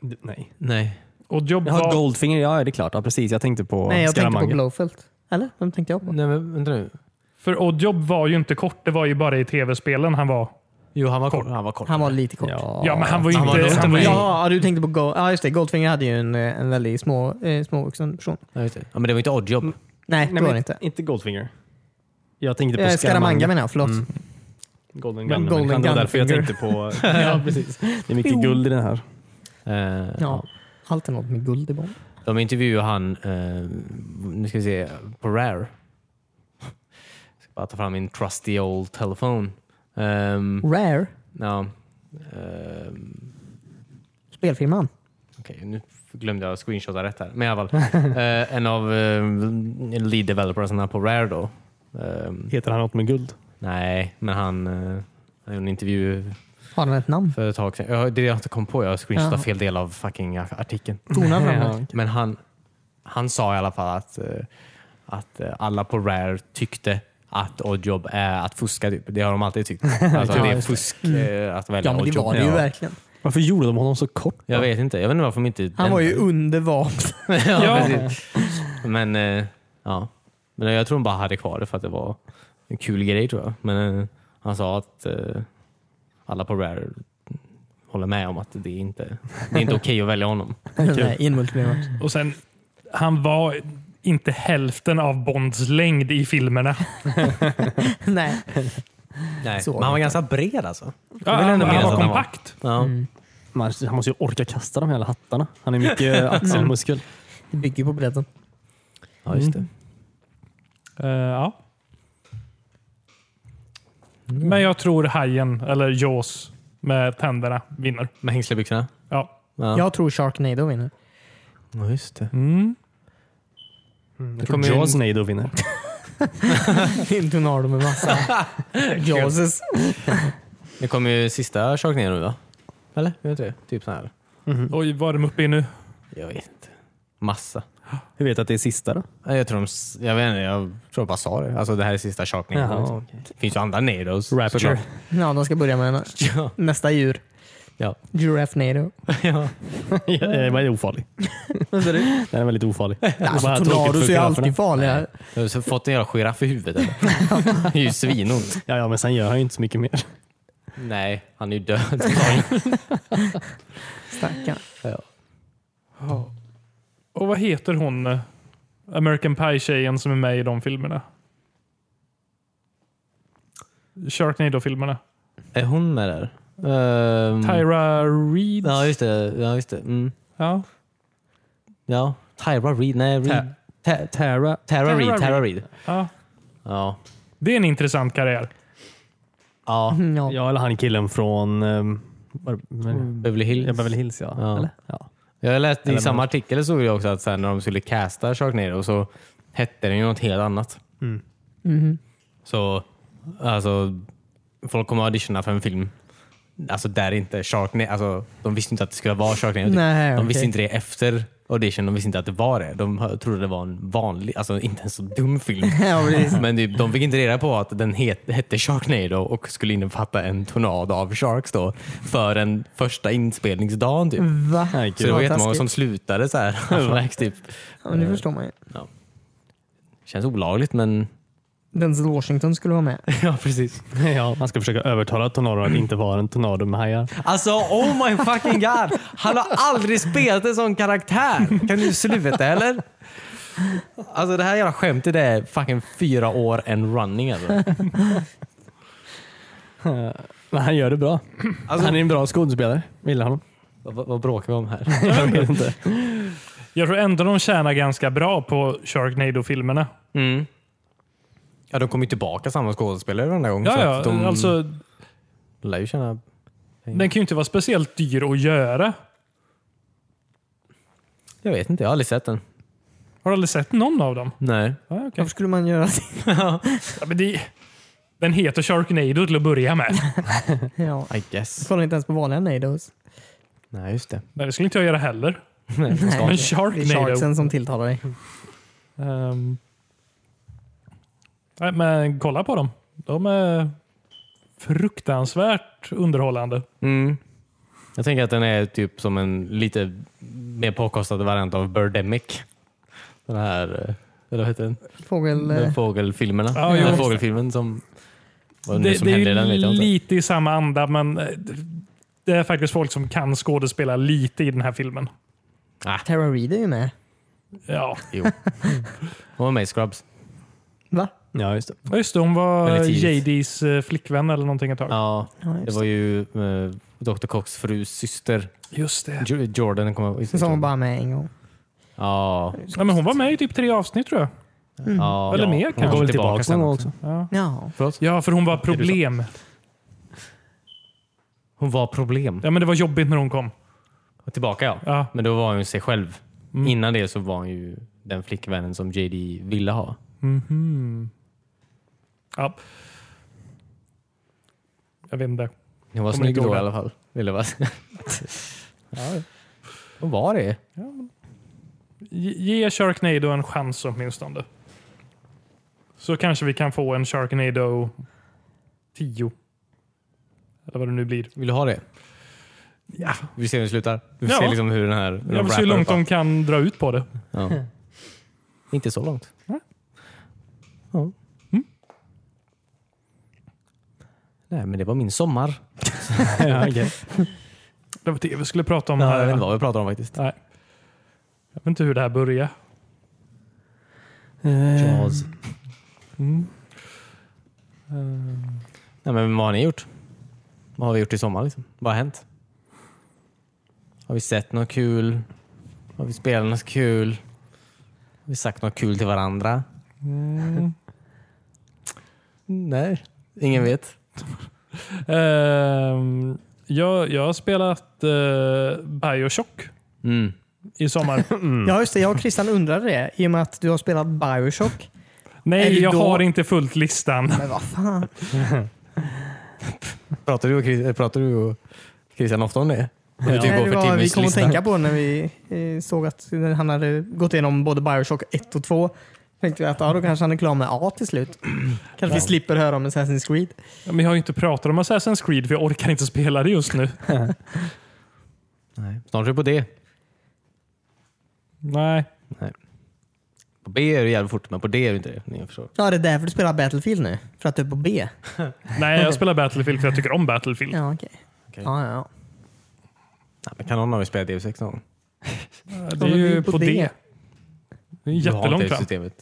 S2: D- nej.
S1: Nej.
S4: Och jobb
S2: Jaha,
S4: var...
S2: Goldfinger, ja det är klart. Ja, precis. Jag tänkte på
S3: Nej, jag tänkte på
S2: Scaramanga.
S3: Blowfelt. Eller? Vem tänkte jag på?
S1: Nej men vänta nu.
S4: För Oddjob var ju inte kort, det var ju bara i tv-spelen han var.
S1: Jo, han var kort. Han var kort.
S3: Han var lite kort.
S2: Ja.
S4: Ja, men han var ju
S1: Han var
S4: inte...
S1: nog
S4: han
S1: inte
S4: var ju,
S1: med.
S3: Ja, du tänkte på Gold... Ja, just det. Goldfinger hade ju en, eh, en väldigt små, eh, småvuxen person.
S1: Ja, just det. Ja, men det var inte Oddjob.
S3: Nej, det
S2: Nej,
S3: var
S2: men
S3: det inte.
S2: Inte Goldfinger. Jag tänkte på
S3: Eh, Scaramanga
S2: Scaramanga.
S3: menar jag, förlåt.
S2: Mm. Golden
S3: Golden
S2: Gun. Golden det var därför jag
S3: Gunfinger.
S2: tänkte på... ja, precis. Det är mycket guld i den här.
S1: Eh,
S3: Ja. Allt är något med guld i Bond.
S1: De intervjuar han, eh, nu ska vi se, på Rare. Jag ska bara ta fram min trusty old telefon. Ehm,
S3: Rare,
S1: ja, ehm,
S3: spelfirman.
S1: Okej, nu glömde jag screenshotta rätt här. Men i alla fall, eh, en av eh, lead developersarna på Rare då. Eh,
S2: Heter han något med guld?
S1: nej, men han eh, han gjorde en intervju
S3: Har den ett namn?
S1: för ett tag sedan. Ja, det jag inte kom på, jag screenshotade
S3: Jaha.
S1: fel del av fucking artikeln.
S3: Tona framåt.
S1: Men han, han sa i alla fall att, eh, att eh, alla på Rare tyckte att Oddjob är att fuska. Typ. Det har de alltid tyckt. Alltså,
S2: Ja,
S1: det är
S2: just
S1: fusk eh, att välja
S3: Ja, men det
S1: Oddjob.
S3: var det ju
S1: Ja.
S3: verkligen.
S2: Varför gjorde de honom så kort?
S1: Jag vet inte. Jag vet inte varför de inte...
S3: Han var ju under vapen.
S1: ja,
S4: Ja.
S1: precis. Men eh, ja. Men jag tror de bara hade kvar det för att det var en kul grej tror jag. Men eh, han sa att eh, alla på Rare håller med om att det är inte det är inte okej att välja honom.
S3: Nej, I en multiplayer-match.
S4: Och sen, han var inte hälften av Bonds längd i filmerna.
S3: Nej.
S1: Nej.
S3: Så.
S1: Men han var ganska bred alltså.
S4: Ja,
S1: vill
S4: han,
S1: ändå
S4: han
S1: minnas
S4: var
S1: att han var.
S4: kompakt.
S1: Ja.
S3: Mm.
S2: Man, han måste ju orka kasta de här jävla hattarna. Han är mycket axelmuskel.
S3: Det bygger på bredden.
S1: ja, just
S3: Mm.
S1: det.
S4: Eh, ja.
S1: Mm.
S4: Men jag tror hajen, eller Jaws, med tänderna vinner.
S1: Med hängslebyxorna.
S4: Ja.
S1: Ja.
S3: Jag tror Sharknado vinner.
S1: Ja, just det.
S4: Mm.
S3: Mm.
S2: Jag
S1: kommer
S2: tror
S1: ju-
S2: Jaws Nado vinner.
S3: En tornado med massa Jaws.
S1: Det kommer ju sista Sharknado nu va? Eller? Jag vet inte det. Typ så här.
S4: Oj, vad är de uppe i nu?
S1: Jag vet inte. Massa.
S2: Hur vet du att det är sista då?
S1: Nej, Jag tror, de, s- jag vet inte, jag tror de bara sa det. Alltså det här är sista Sharknado.
S2: Jaha,
S1: liksom. Det finns ju andra Nados.
S2: Rapture.
S1: såklart.
S3: Ja, de ska börja med en-
S1: Ja.
S3: nästa djur.
S1: Ja.
S3: Giraffnado.
S1: ja.
S2: Jag är ofarlig.
S3: Vad sa du?
S2: Den är väldigt ofarlig.
S3: Alltså,
S2: Bara tråkigt
S3: tornados
S2: för
S3: är ju
S2: girafferna.
S3: alltid farliga.
S1: Jag har så fått en jävla giraff i huvudet. Eller? Det är ju svinont.
S2: Ja, ja, men sen gör han ju inte så mycket mer.
S1: Nej, han är ju död.
S3: Stackarn.
S4: Och vad heter hon, eh, American Pie-tjejen som är med i de filmerna? Sharknado-filmerna.
S1: är hon med där? Ehm,
S4: Tyra Reid.
S1: Ja, just det. Ja, just det. Mm.
S4: Ja.
S1: Ja. Tyra Reed. Nej, Reed. Ta- Tara, Tara
S4: Tara
S1: Reed.
S4: Reid.
S1: Tara Reed.
S4: Ja.
S1: Ja.
S4: Det är en intressant karriär.
S1: ja.
S3: Ja.
S2: Ja, eller han killen från... Um, var, men,
S1: Beverly Hills.
S2: ja, Beverly Hills, ja.
S1: Ja.
S2: Eller? ja.
S1: Jag läste i
S2: Eller
S1: samma artikel såg jag också att sen när de skulle casta Sharknado så hette den ju något helt annat.
S3: Mm-hmm.
S1: Så alltså, folk kommer att auditiona för en film alltså, där inte Sharknado, alltså, de visste inte att det skulle vara Sharknado. typ.
S3: Nej,
S1: de
S3: okej.
S1: visste inte det efter audition, de visste inte att det var det. De hö- trodde det var en vanlig, alltså inte en så dum film.
S3: Ja, precis.
S1: Men typ, de fick inte reda på att den het, hette Sharknado och skulle innefatta en tornado av sharks då förrän första inspelningsdagen. Typ.
S3: Va?
S2: Nej,
S1: Så det var
S3: Vad
S1: jättemånga
S3: taskigt.
S1: som slutade så här. Verks typ.
S3: Ja, men det förstår man ju.
S1: Känns olagligt men...
S3: Denzel Washington skulle vara med.
S1: ja precis.
S2: ja. Han ska försöka övertala tornadon att inte vara en tornado med hajar.
S1: Alltså oh my fucking god! Han har aldrig spelat en sån karaktär! Kan du sluta eller? Alltså det här jävla skämtet det är fucking fyra år and running alltså.
S2: Men han gör det bra.
S1: Alltså-
S2: han är en bra skådespelare. Jag Gillar honom.
S1: Vad, vad bråkar vi om här?
S2: Jag vet inte.
S4: Jag tror ändå de tjänar ganska bra på Sharknado-filmerna.
S1: Mm. Ja de kommer ju tillbaka samma skådespelare den där gången.
S4: Ja,
S1: så
S4: ja.
S1: att de
S4: Alltså,
S1: lär ju känna...
S4: den kan ju inte vara speciellt dyr att göra.
S1: Jag vet inte, jag har aldrig sett den.
S4: Har du aldrig sett någon av dem?
S1: Nej.
S4: Ja, okej.
S3: Varför skulle man göra det?
S4: ja, men det, den heter Sharknado till att börja med.
S3: Ja.
S1: I guess.
S3: Kollar inte ens på vanliga Nados.
S1: Nej just det.
S4: Nej, det skulle inte jag göra heller.
S3: Nej,
S4: Men
S3: det är
S4: Sharknado.
S3: sharksen som tilltalar dig.
S4: Ehm. Nej, men kolla på dem. De är fruktansvärt underhållande.
S1: Mm. Jag tänker att den är typ som en lite mer påkostad variant av Birdemic. Den här, eh, eller vad heter den?
S3: Fågel...
S1: den
S3: eh,
S1: fågelfilmerna.
S4: Ja,
S1: den
S4: just
S1: fågelfilmen som... Vad nu
S4: Det,
S1: som
S4: det är
S1: hände i den vet
S4: ju
S1: jag inte.
S4: lite i samma anda, men eh, det är faktiskt folk som kan skådespela lite i den här filmen.
S3: Tara eh, Reid är ju med.
S4: Ja,
S1: Jo. Hon var med i Scrubs.
S3: Va?
S2: Ja, just det.
S4: Ja, just det, hon var
S1: Väldigt tidigt.
S4: JDs eh, flickvän eller någonting ett tag.
S1: Ja,
S3: Ja,
S1: det
S3: just.
S1: var ju eh, Dr. Cox frus syster.
S4: Just det.
S1: Jo- Jordan kommer jag
S3: det. Som var bara med en gång.
S1: Ja.
S4: Ja, men hon var med i typ tre avsnitt tror jag.
S1: ja.
S4: Eller mer
S1: Hon
S4: kanske.
S1: kom
S2: väl
S1: tillbaka sen
S2: någon gång
S1: också.
S4: Ja,
S3: Ja.
S4: ja för hon var problem.
S1: Hon var problem.
S4: Ja, men det var jobbigt när hon kom.
S1: Tillbaka ja.
S4: Ja.
S1: Men då var hon sig själv.
S4: Mm.
S1: Innan det så var hon ju den flickvännen som JD ville ha.
S4: Mhm. ja. Jag vet inte.
S1: Hon var
S4: Kommer
S1: snygg
S4: inte ihåg
S1: då i
S4: det.
S1: alla fall. Ville jag bara säga. Hon var det.
S4: Ge- Ge Sharknado en chans åtminstone. Så kanske vi kan få en Sharknado 10. Eller vad det nu blir.
S1: Vill du ha det?
S4: Ja.
S1: Vi ser hur den slutar. Vi
S4: Ja.
S1: ser liksom hur den här... hur de
S4: Jag vill se hur
S1: wrappar
S4: långt
S1: upp
S4: de kan dra ut på det.
S1: allt. Ja. Inte så långt.
S4: Nej. Mm.
S1: Ja. Nej, men det var min sommar.
S2: ja, okej.
S4: Det var det vi skulle prata om.
S1: Ja,
S4: här.
S1: jag vet
S4: Jag
S1: inte
S4: vet
S1: vad vi pratar om faktiskt.
S4: inte hur det här började.
S1: Jaws.
S3: Eh, mm.
S1: Nej, men vad har ni gjort? Vad har vi gjort i sommar? Liksom? Vad har hänt? Har vi sett något kul? Har vi spelat något kul? Har vi sagt något kul till varandra?
S3: Mm.
S1: Nej, ingen vet.
S4: Ehm, jag, jag har spelat eh, Bioshock
S1: Mm.
S4: i sommar.
S3: ja, just det. Jag och Christian undrade det i och med att du har spelat Bioshock.
S4: Nej,
S3: Eller
S4: jag
S3: då-
S4: har inte fullt listan.
S3: Men vad fan.
S1: Pratar du och, Chris, eh, pratar du och Christian ofta om det? Hur det går
S3: Nej,
S1: typ för
S3: det var, vi
S1: Timmys
S3: kom att
S1: lista?
S3: tänka på när vi eh, såg att han hade gått igenom både Bioshock 1 och 2. Tänkte vi att ja, då kanske han är klar med A till slut. Kanske vi slipper höra om Assassin's Creed.
S4: Ja, Men jag har ju inte pratat om Assassin's Creed för jag orkar inte spela det just nu.
S1: Nej. Snart är du på D.
S4: Nej.
S1: På B är du jävligt fort, men på D är du inte det. Ni förstår.
S3: Ja, det är därför du spelar Battlefield nu. För att du är på B.
S4: Nej, jag spelar Battlefield för jag tycker om Battlefield.
S3: Ja, okej. Ja, ja, ja.
S1: Nej, men kan någon av er spela D6 någon gång?
S4: Det är ju
S3: vi
S4: på,
S3: på
S4: det.
S3: det.
S4: Det är
S1: Du har
S4: jättelångt
S1: inte det
S4: fram.
S1: systemet.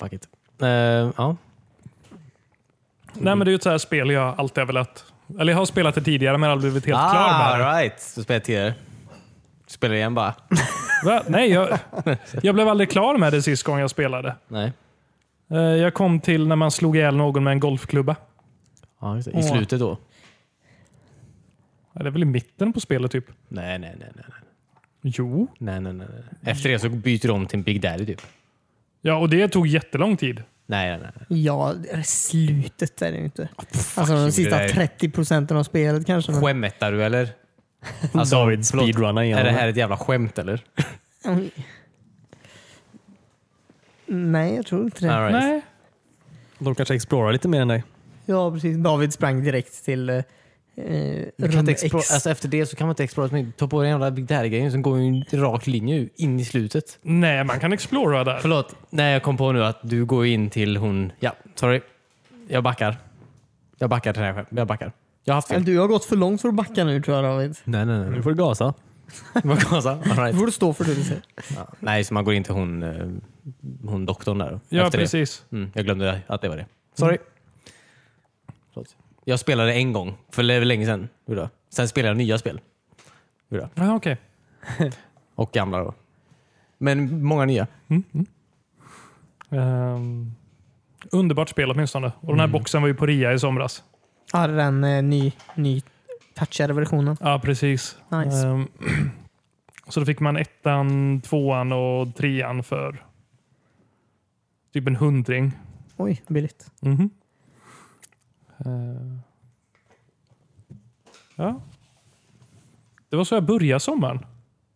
S1: Fuck it. Eh, ja.
S4: Nej, men det är ju ett så här spel jag alltid har velat... Eller jag har spelat det tidigare men aldrig blivit helt klar
S1: ah,
S4: med det.
S1: right. Du spelade tidigare. Du spelar igen bara.
S4: Va? Nej, jag, jag blev aldrig klar med det sist gången jag spelade.
S1: Nej.
S4: Eh, Jag kom till när man slog ihjäl någon med en golfklubba.
S1: Ja, just det. I
S3: Åh.
S1: slutet då?
S4: Ja, Det är väl i mitten på spelet typ?
S1: Nej, nej, nej. nej, nej.
S4: Jo.
S1: nej, nej, nej, nej. Efter det så byter de till en Big Daddy typ.
S4: Ja, och det tog jättelång tid.
S1: Nej, nej, nej. nej.
S3: Ja, det är slutet är det ju inte. Alltså de
S1: you,
S3: sista
S1: det där-
S3: 30 procenten av spelet kanske. Men,
S1: Skämtar du eller?
S2: Alltså, David
S1: förlåt.
S2: speedrunnar
S1: Är
S2: igenom
S1: det här ett jävla skämt eller?
S3: Oj. Nej, jag tror inte det.
S1: All right.
S4: Nej.
S2: De kanske explorar lite mer än dig.
S3: Ja, precis. David sprang direkt till eh, eh,
S1: Du Kan
S3: rum
S1: inte
S3: X.
S1: explora, alltså efter det så kan man inte explora så mycket. Ta på dig den jävla Big Daddy-grejen som går ju en rak linje in i slutet.
S4: Nej, man kan explora där.
S1: Förlåt, nej jag kom på nu att du går in till hon... Ja, sorry. Jag backar. Jag backar till den här själv. Jag backar. Jag har haft
S3: Men
S1: fel.
S3: Du har gått för långt för att backa nu tror jag David.
S1: Nej, nej, nej.
S2: Nu får du gasa.
S1: Vad kan man säga? All
S3: Du
S1: right.
S3: får du stå för det du säger.
S1: ja. Nej, så man går in till hon, eh, hon doktorn där.
S4: Ja,
S1: efter
S4: precis.
S1: Det. Mm, jag glömde att det var det. Sorry. Förlåt. Jag spelade en gång, för l- länge sedan. Hur då? Sen spelade jag nya spel. Hur då?
S4: Ja, okej.
S1: Och gamla då. Men många nya.
S4: Ehm, underbart spel åtminstone. Och den här boxen var ju på rea i somras.
S3: Ja, det är den eh, ny, ny touchade versionen.
S4: Ja, precis.
S3: Nice.
S4: Ehm, så då fick man ettan, tvåan och trean för typ en hundring.
S3: Oj, billigt.
S4: Ehm, ja. Det var så jag började sommaren.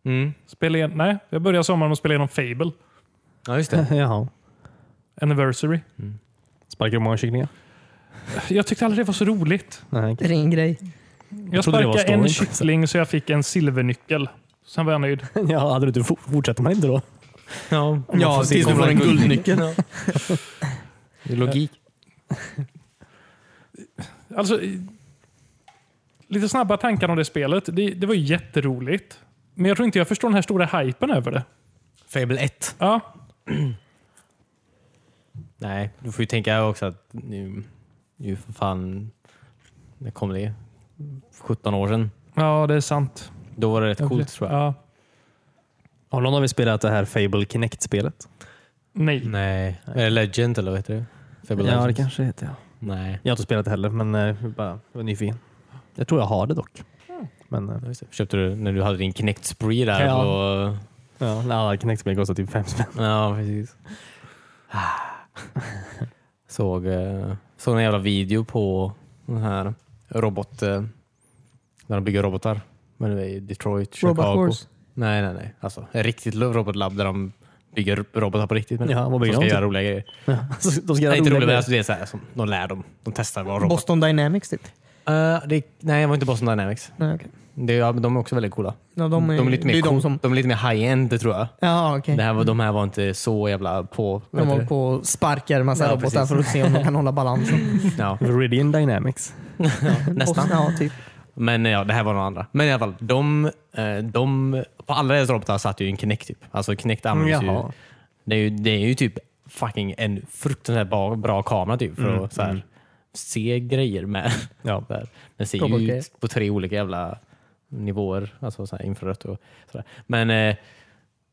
S1: Mm.
S4: Spela igen, nej, jag började sommaren och spela igenom Fable.
S1: Ja, just det.
S2: Jaha.
S4: Anniversary.
S2: Sparkar du många kycklingar?
S4: Jag tyckte aldrig det var så roligt.
S2: Nej,
S3: Det är ingen grej.
S4: Jag
S2: trodde det var
S4: sparkade en
S2: storyn.
S4: kyckling så jag fick en silvernyckel. Sen var jag nöjd.
S2: Ja, hade du inte fort- fortsätter man inte då?
S1: Ja,
S3: Ja,
S1: får se
S3: tills du
S1: om
S3: får
S1: man-
S3: en guldnyckel.
S1: Det är Logik.
S4: Alltså, i- lite snabba tankar om det spelet. Det, det var ju jätteroligt. Men jag tror inte jag förstår den här stora hypen över det.
S1: Fable 1.
S4: Ja.
S1: Nej, du får ju tänka också att nu, nu för fan, när kom det? 17 år sedan.
S4: Ja, det är sant.
S1: Då var det rätt coolt tror jag.
S4: Ja.
S2: Har någon av er spelat det här Fable Kinect-spelet?
S4: Nej.
S1: Nej, eller Eh, Legend eller vad heter det? Fable
S2: Ja, det
S1: Legends?
S2: kanske heter jag.
S1: Nej,
S2: Jag har inte spelat det heller, men eh, jag bara var nyfiken. Jag tror jag har det dock. Men, eh,
S1: Ja, just det. köpte du när du hade din Kinect Spree där?
S2: Ja.
S1: På,
S2: ja, nej, alla Kinect-spel kostar typ fem spänn.
S1: ja, precis. såg, eh, såg en jävla video på den här robot... eh, När de bygger robotar. Men det är i Detroit, Chicago.
S3: Robot Wars.
S1: Nej, nej, nej. Alltså, ett riktigt robotlabb där de bygger robotar på riktigt. Men
S2: Ja, vad
S1: de
S2: bygger
S1: ska
S2: de
S1: göra roliga grejer.
S2: Så De ska göra
S1: Nej, inte roliga,
S2: roliga
S1: men
S2: grejer.
S1: alltså, det är så här, som de lär dem. De testar vad robot...
S3: Boston Dynamics typ.
S1: Eh, det, nej, det var inte Boston Dynamics.
S3: Nej, okej.
S1: Det, ja, men de är också väldigt coola.
S3: ja, de, är,
S1: De är lite mer,
S3: det är de
S1: cool-
S3: som...
S1: de är lite mer high-end tror jag.
S3: Ja, okej.
S1: Det här var, de här var inte så jävla på... vad
S3: De
S1: heter
S3: håller
S1: det?
S3: på och sparkar en massa
S1: Ja,
S3: robotar
S1: precis.
S3: för att se om de kan hålla balansen.
S1: Ja,
S2: Viridian Dynamics.
S1: nästan.
S3: Boston, ja, typ.
S1: Men ja, det här var några andra. Men i alla fall, de, eh, de, på alla deras robotar satt ju en Kinect. Typ. Alltså Kinect används ju
S2: Jaha.
S1: det, är ju. det är ju typ fucking en fruktansvärt bra, bra kamera typ, för att så här, se grejer med.
S2: Mm, Ja.
S1: Så här. Den ser ju
S3: Robotgrejer.
S1: ut på tre olika jävla nivåer. Alltså så här, infrarött och sådär. Men eh,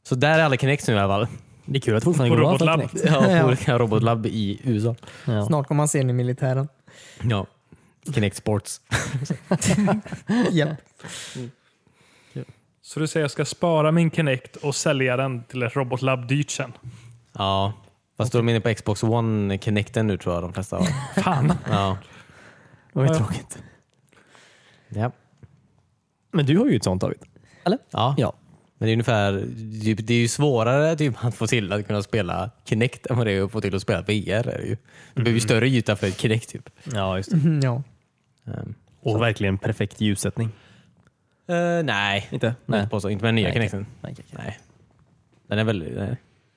S1: så där är alla Kinect nu i alla fall.
S2: Det är kul att det fortfarande
S4: På
S2: går bra
S4: Robotlab.
S2: för Kinect.
S1: Ja, på
S3: Ja.
S1: olika robotlabb i USA.
S2: Ja.
S3: Snart kommer man se den i militären.
S1: Ja. Kinect Sports.
S3: Japp.
S4: Så du säger jag ska spara min Kinect och sälja den till ett robotlab dyrt sen?
S1: Ja, fast då är de inne på Xbox One Kinecten nu tror jag de flesta har.
S4: Fan.
S1: Ja.
S2: Det var ju
S4: Ja.
S2: tråkigt.
S1: Ja.
S2: Men du har ju ett sånt David.
S1: Ja. Men det är ungefär, det är- det är ju svårare typ, att få till att kunna spela Kinect än vad det är att få till att spela VR. Är det ju. Du behöver ju större yta för ett Kinect. Typ.
S2: Ja, just
S3: Mhm, Ja.
S1: Ehm,
S2: Mm-hmm. Och verkligen perfekt ljussättning.
S1: eh, nej,
S2: Inte? Mm.
S1: inte, påstå, inte med den nya
S2: Nej,
S1: Kinecten.
S2: Nej, okej.
S1: Nej. Den är väl, nej.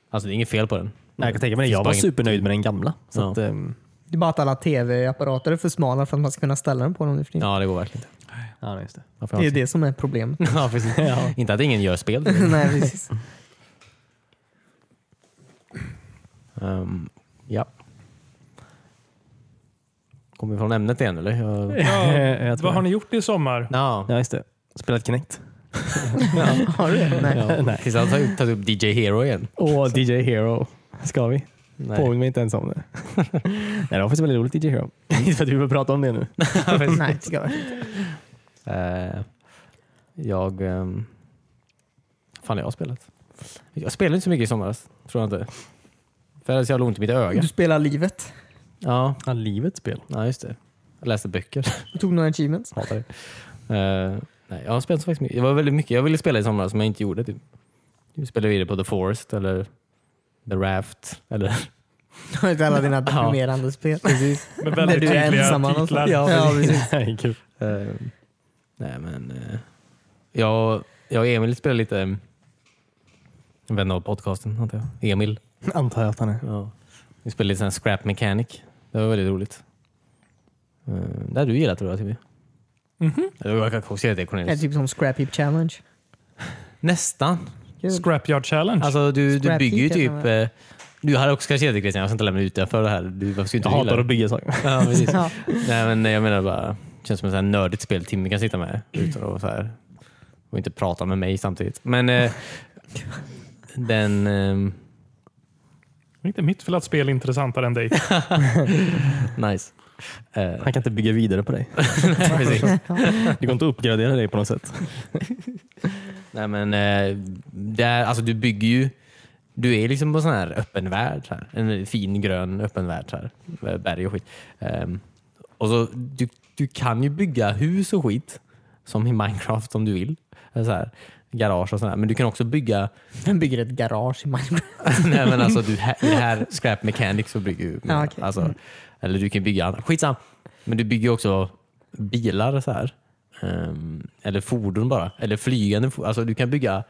S1: Alltså det är inget fel på den.
S2: Nej, jag kan tänka mig det. Jag var
S1: Finns bara inget-
S2: supernöjd med den gamla. Så
S1: Ja.
S2: att, ehm,
S3: Det är bara att alla tv-apparater är för smala för att man ska kunna ställa den på dem nu för tiden.
S1: Ja, det går verkligen inte.
S2: ja, nej, just det.
S1: Varför
S3: Det är
S1: har
S3: det som är problemet.
S1: jag- ja, precis.
S2: Ja.
S1: Inte att ingen gör spel. typ.
S3: Nej, precis.
S1: Ehm, ja. Kommer vi från ämnet igen eller? Jag...
S4: Ja,
S2: Jag tror
S4: vad
S2: det.
S4: har ni gjort i sommar?
S1: Ja.
S2: Ja, just det. Spelat Kinect.
S3: Har du det? Nej.
S1: Ja.
S2: Nej.
S1: Tills han tar upp, tar upp DJ Hero igen.
S2: Och DJ Hero. Ska vi?
S1: Nej.
S2: Påminn mig inte ens om det. Nej, det var faktiskt väldigt roligt DJ Hero. Inte för att vi behöver prata om det nu.
S3: Nej, det ska jag inte.
S1: Eh, jag... Um, fan har jag spelat? Jag spelade inte så mycket i somras. Tror jag inte. För jag hade så jävla ont i mitt öga.
S3: Du spelar livet.
S1: Ja,
S2: Ja, livets spel.
S1: ja just det. Jag läste böcker.
S3: Du tog några achievements.
S1: Hatar det. Eh, nej, jag har spelat så faktiskt mycket. Det var väldigt mycket jag ville spela i somras som jag inte gjorde. Typ. Jag spelade vidare på The Forest eller The Raft. Eller
S3: Alla dina deprimerande spel. Precis.
S4: Med väldigt
S3: du är ensam
S4: tydliga
S3: någonstans.
S4: titlar.
S3: Ja,
S2: Ja,
S3: precis.
S2: Nej, kul.
S1: Eh, nej men eh, jag, jag och Emil spelar lite um, en vän av podcasten antar jag. Emil.
S2: Antar jag att han är.
S1: Ja. Vi spelade lite sån här scrap mechanic. Det var väldigt roligt. Uh, det hade du gillat tror jag Timmy.
S4: Mhm.
S1: Eller Jag kan också säga det
S3: Det är
S1: Cornelius.
S3: typ som Scrap Heap Challenge.
S1: Nästan.
S3: Kul.
S4: Scrapyard challenge.
S1: Alltså du, du
S3: Scrap
S1: bygger ju
S3: heap,
S1: typ...
S3: jag menar.
S1: eh, du hade också kanske gillat det Christian. Jag ska inte lämna ut det för det här. Du varför skulle inte
S2: Jag
S1: gilla
S2: hatar
S1: det?
S2: att bygga saker.
S1: Ja, precis.
S3: Ja.
S1: Nej, men jag menar bara, det känns som ett så här nördigt spel Timmy kan sitta med utan att så här, och inte prata med mig samtidigt. Men eh, den... ehm,
S4: Det är inte mitt fel att spel är intressantare än dig.
S1: nice. Eh,
S2: Han kan inte bygga vidare på dig.
S1: precis.
S2: Det går inte att uppgradera dig på något sätt.
S1: Nej, men eh, där, alltså, du bygger ju... Du är liksom på sån här öppen värld. Så här. En fin grön öppen värld. Så här. Med Berg och skit. Ehm, och så, du, du kan ju bygga hus och skit som i Minecraft om du vill. Eller Så här, garage och sådär. Men du kan också bygga
S3: Den bygger ett garage i Minecraft.
S1: Nej men alltså du, här, i det här Scrap Mechanics så bygger du,
S3: Ja, okej. Mm.
S1: alltså, eller du kan bygga annat. Skitsam. Men du bygger också bilar så här. Ehm, eller fordon bara. Eller flygande fordon. Alltså du kan bygga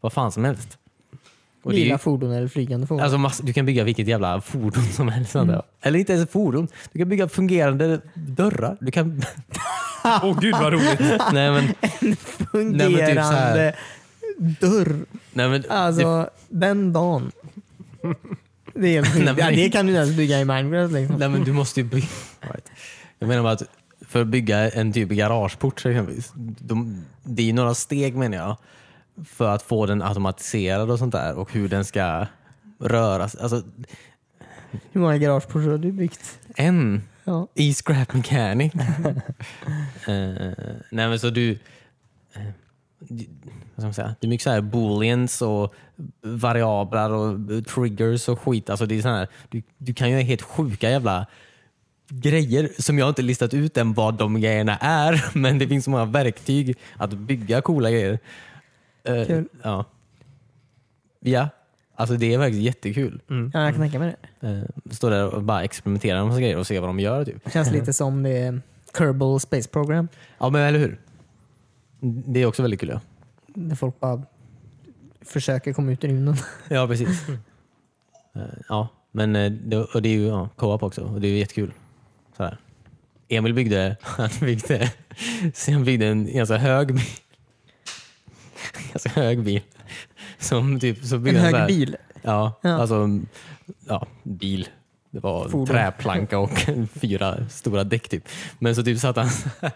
S1: vad fan som helst. Och det är ju-
S3: Lilla fordon eller flygande fordon. Mm.
S1: Alltså mass- du kan bygga vilket jävla fordon som helst. antar jag. Eller inte ens ett fordon. Du kan bygga fungerande dörrar. Du kan...
S4: Åh gud vad roligt.
S1: nej men, men typ så här.
S3: Fungerande dörr.
S1: nej, men
S3: Alltså, den dagen. Det, är helt sjukt.
S1: Nej, men-
S3: ja, det kan du inte ens bygga i Minecraft. Liksom.
S1: Nej men du måste ju bygga. Jag menar bara att för att bygga en typ garageport exempelvis. De, det är ju några steg menar jag. För att få den automatiserad och sånt där och hur den ska röras. Alltså
S3: Hur många garageportar har du byggt?
S1: en
S3: Ja.
S1: i scrap mechanic. Eh, nej men så du, eh, du- vad ska man säga? Det är mycket så här booleans och variabler och triggers och skit. Alltså det är så här, du, du kan ju ha helt sjuka jävla grejer som jag inte listat ut än vad de grejerna är. Men det finns så många verktyg att bygga coola grejer. Eh,
S3: Kul.
S1: Ja. ja, alltså det är faktiskt jättekul.
S3: ja, jag kan tänka mig det.
S1: Eh, Stå där och bara experimentera med massa grejer och se vad de gör. Typ.
S3: Det känns lite som det Kerbal Space Program.
S1: Ja men eller hur? Det är också väldigt kul. Ja,
S3: Där folk bara försöker komma ut i rymden.
S1: ja precis. Eh, ja, men eh, det, och det är ju ja, co-op också och det är ju jättekul. Sådär. Emil byggde, han byggde, sen byggde en ganska hög bil. Ganska hög bil. Som typ, så
S3: En
S1: byggde han så här-
S3: hög bil.
S1: Ja,
S3: Ja.
S1: alltså ja, bil. Det var
S3: Fordon.
S1: träplanka och fyra stora däck typ. Men så typ satt han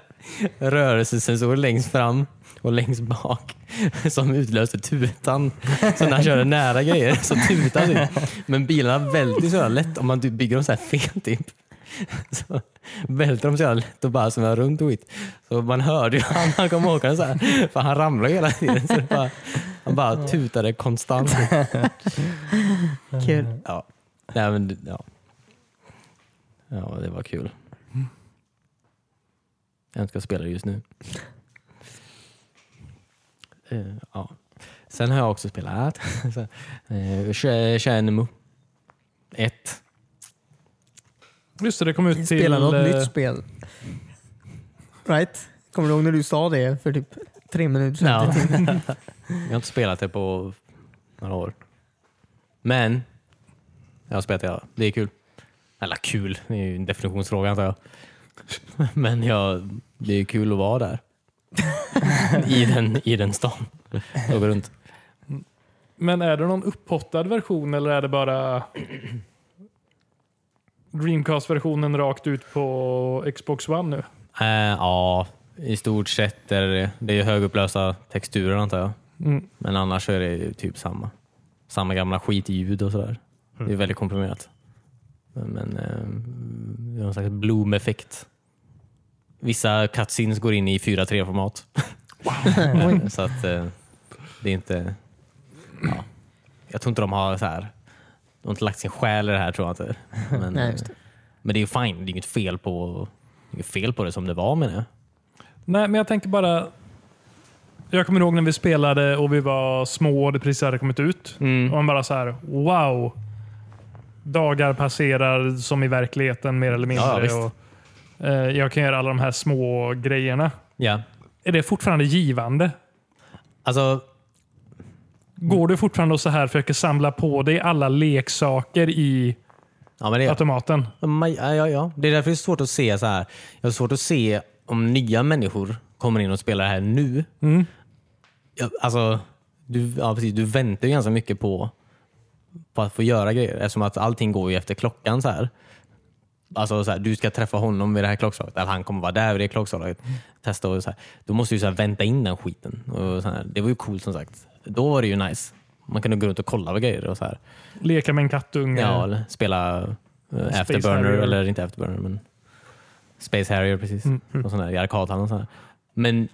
S1: rörelsesensor längst fram och längst bak som utlöste tutan. Så när han körde nära grejer så tutade typ. Men bilarna välter så jävla lätt om man typ bygger dem så här fel typ. Så välter de så jävla lätt och bara snurrar runt och skit. Så man hörde ju han, han kom åkande så här, för han ramlade hela tiden. Så det bara, han bara tutade konstant.
S3: Kul.
S1: Ja. Nej, men, det- ja. ja, det var kul. Jag önskar jag spelade just nu. Eh, ja. Sen har jag också spelat så, eh, Sh- Shenmue 1.
S4: Just det, det kom ut till...
S3: Spela något
S4: eh,
S3: nytt spel. Right? Kommer du ihåg när du sa det för typ tre minuter sedan?
S1: Ja. jag har inte spelat det på några år. Men jag har spelat det. ja. Det är kul. Eller kul, det är ju en definitionsfråga antar jag. Men jag, det är kul att vara där. I den, i den stan. Och gå runt.
S4: Men är det någon upphottad version eller är det bara Dreamcast-versionen rakt ut på Xbox One nu?
S1: Eh, ja, i stort sett är det det. Det är ju högupplösta texturer antar jag.
S4: Mm.
S1: Men annars så är det ju typ samma. Samma gamla skitljud och sådär. Det är väldigt komprimerat. Men, men eh, det är någon slags bloom-effekt. Vissa cutscenes går in i 4.3-format. så att eh, det är inte... Ja. Jag tror inte de har så här... De har inte lagt sin själ i det här tror jag inte. Men,
S3: Nej,
S1: eh,
S3: just det.
S1: men det är ju fine. Det är inget fel på, det är inget fel på det som det var menar jag.
S4: Nej, men jag tänker bara... Jag kommer ihåg när vi spelade och vi var små och det precis hade kommit ut.
S1: Mm.
S4: Och man bara så här, wow. Dagar passerar som i verkligheten mer eller
S1: Ja,
S4: mindre.
S1: visst.
S4: och, eh, jag kan göra alla de här små grejerna.
S1: Ja.
S4: Är det fortfarande givande?
S1: Alltså, Mm.
S4: Går du fortfarande och så här försöker samla på dig alla leksaker i
S1: ja, men det,
S4: automaten?
S1: Maj- Ja, ja, ja. Det är därför det är svårt att se så här. Jag har svårt att se om nya människor kommer in och spelar det här nu. Ja, alltså, du, ja, precis, du väntar ju ganska mycket på, på att få göra grejer eftersom att allting går ju efter klockan. så här. Alltså så här, du ska träffa honom vid det här klockslaget, eller han kommer vara där vid det klockslaget. Testa och så här. Då måste du så här vänta in den skiten. Och så här. Det var ju coolt som sagt. Då var det ju nice. Man kunde gå runt och kolla på grejer och så här.
S4: Leka med en kattunge?
S1: Ja, eller spela eh, Afterburner,
S4: Harrier.
S1: eller inte Afterburner, men Space Harrier precis. Och sån där, I arkadhallen och sån där. Men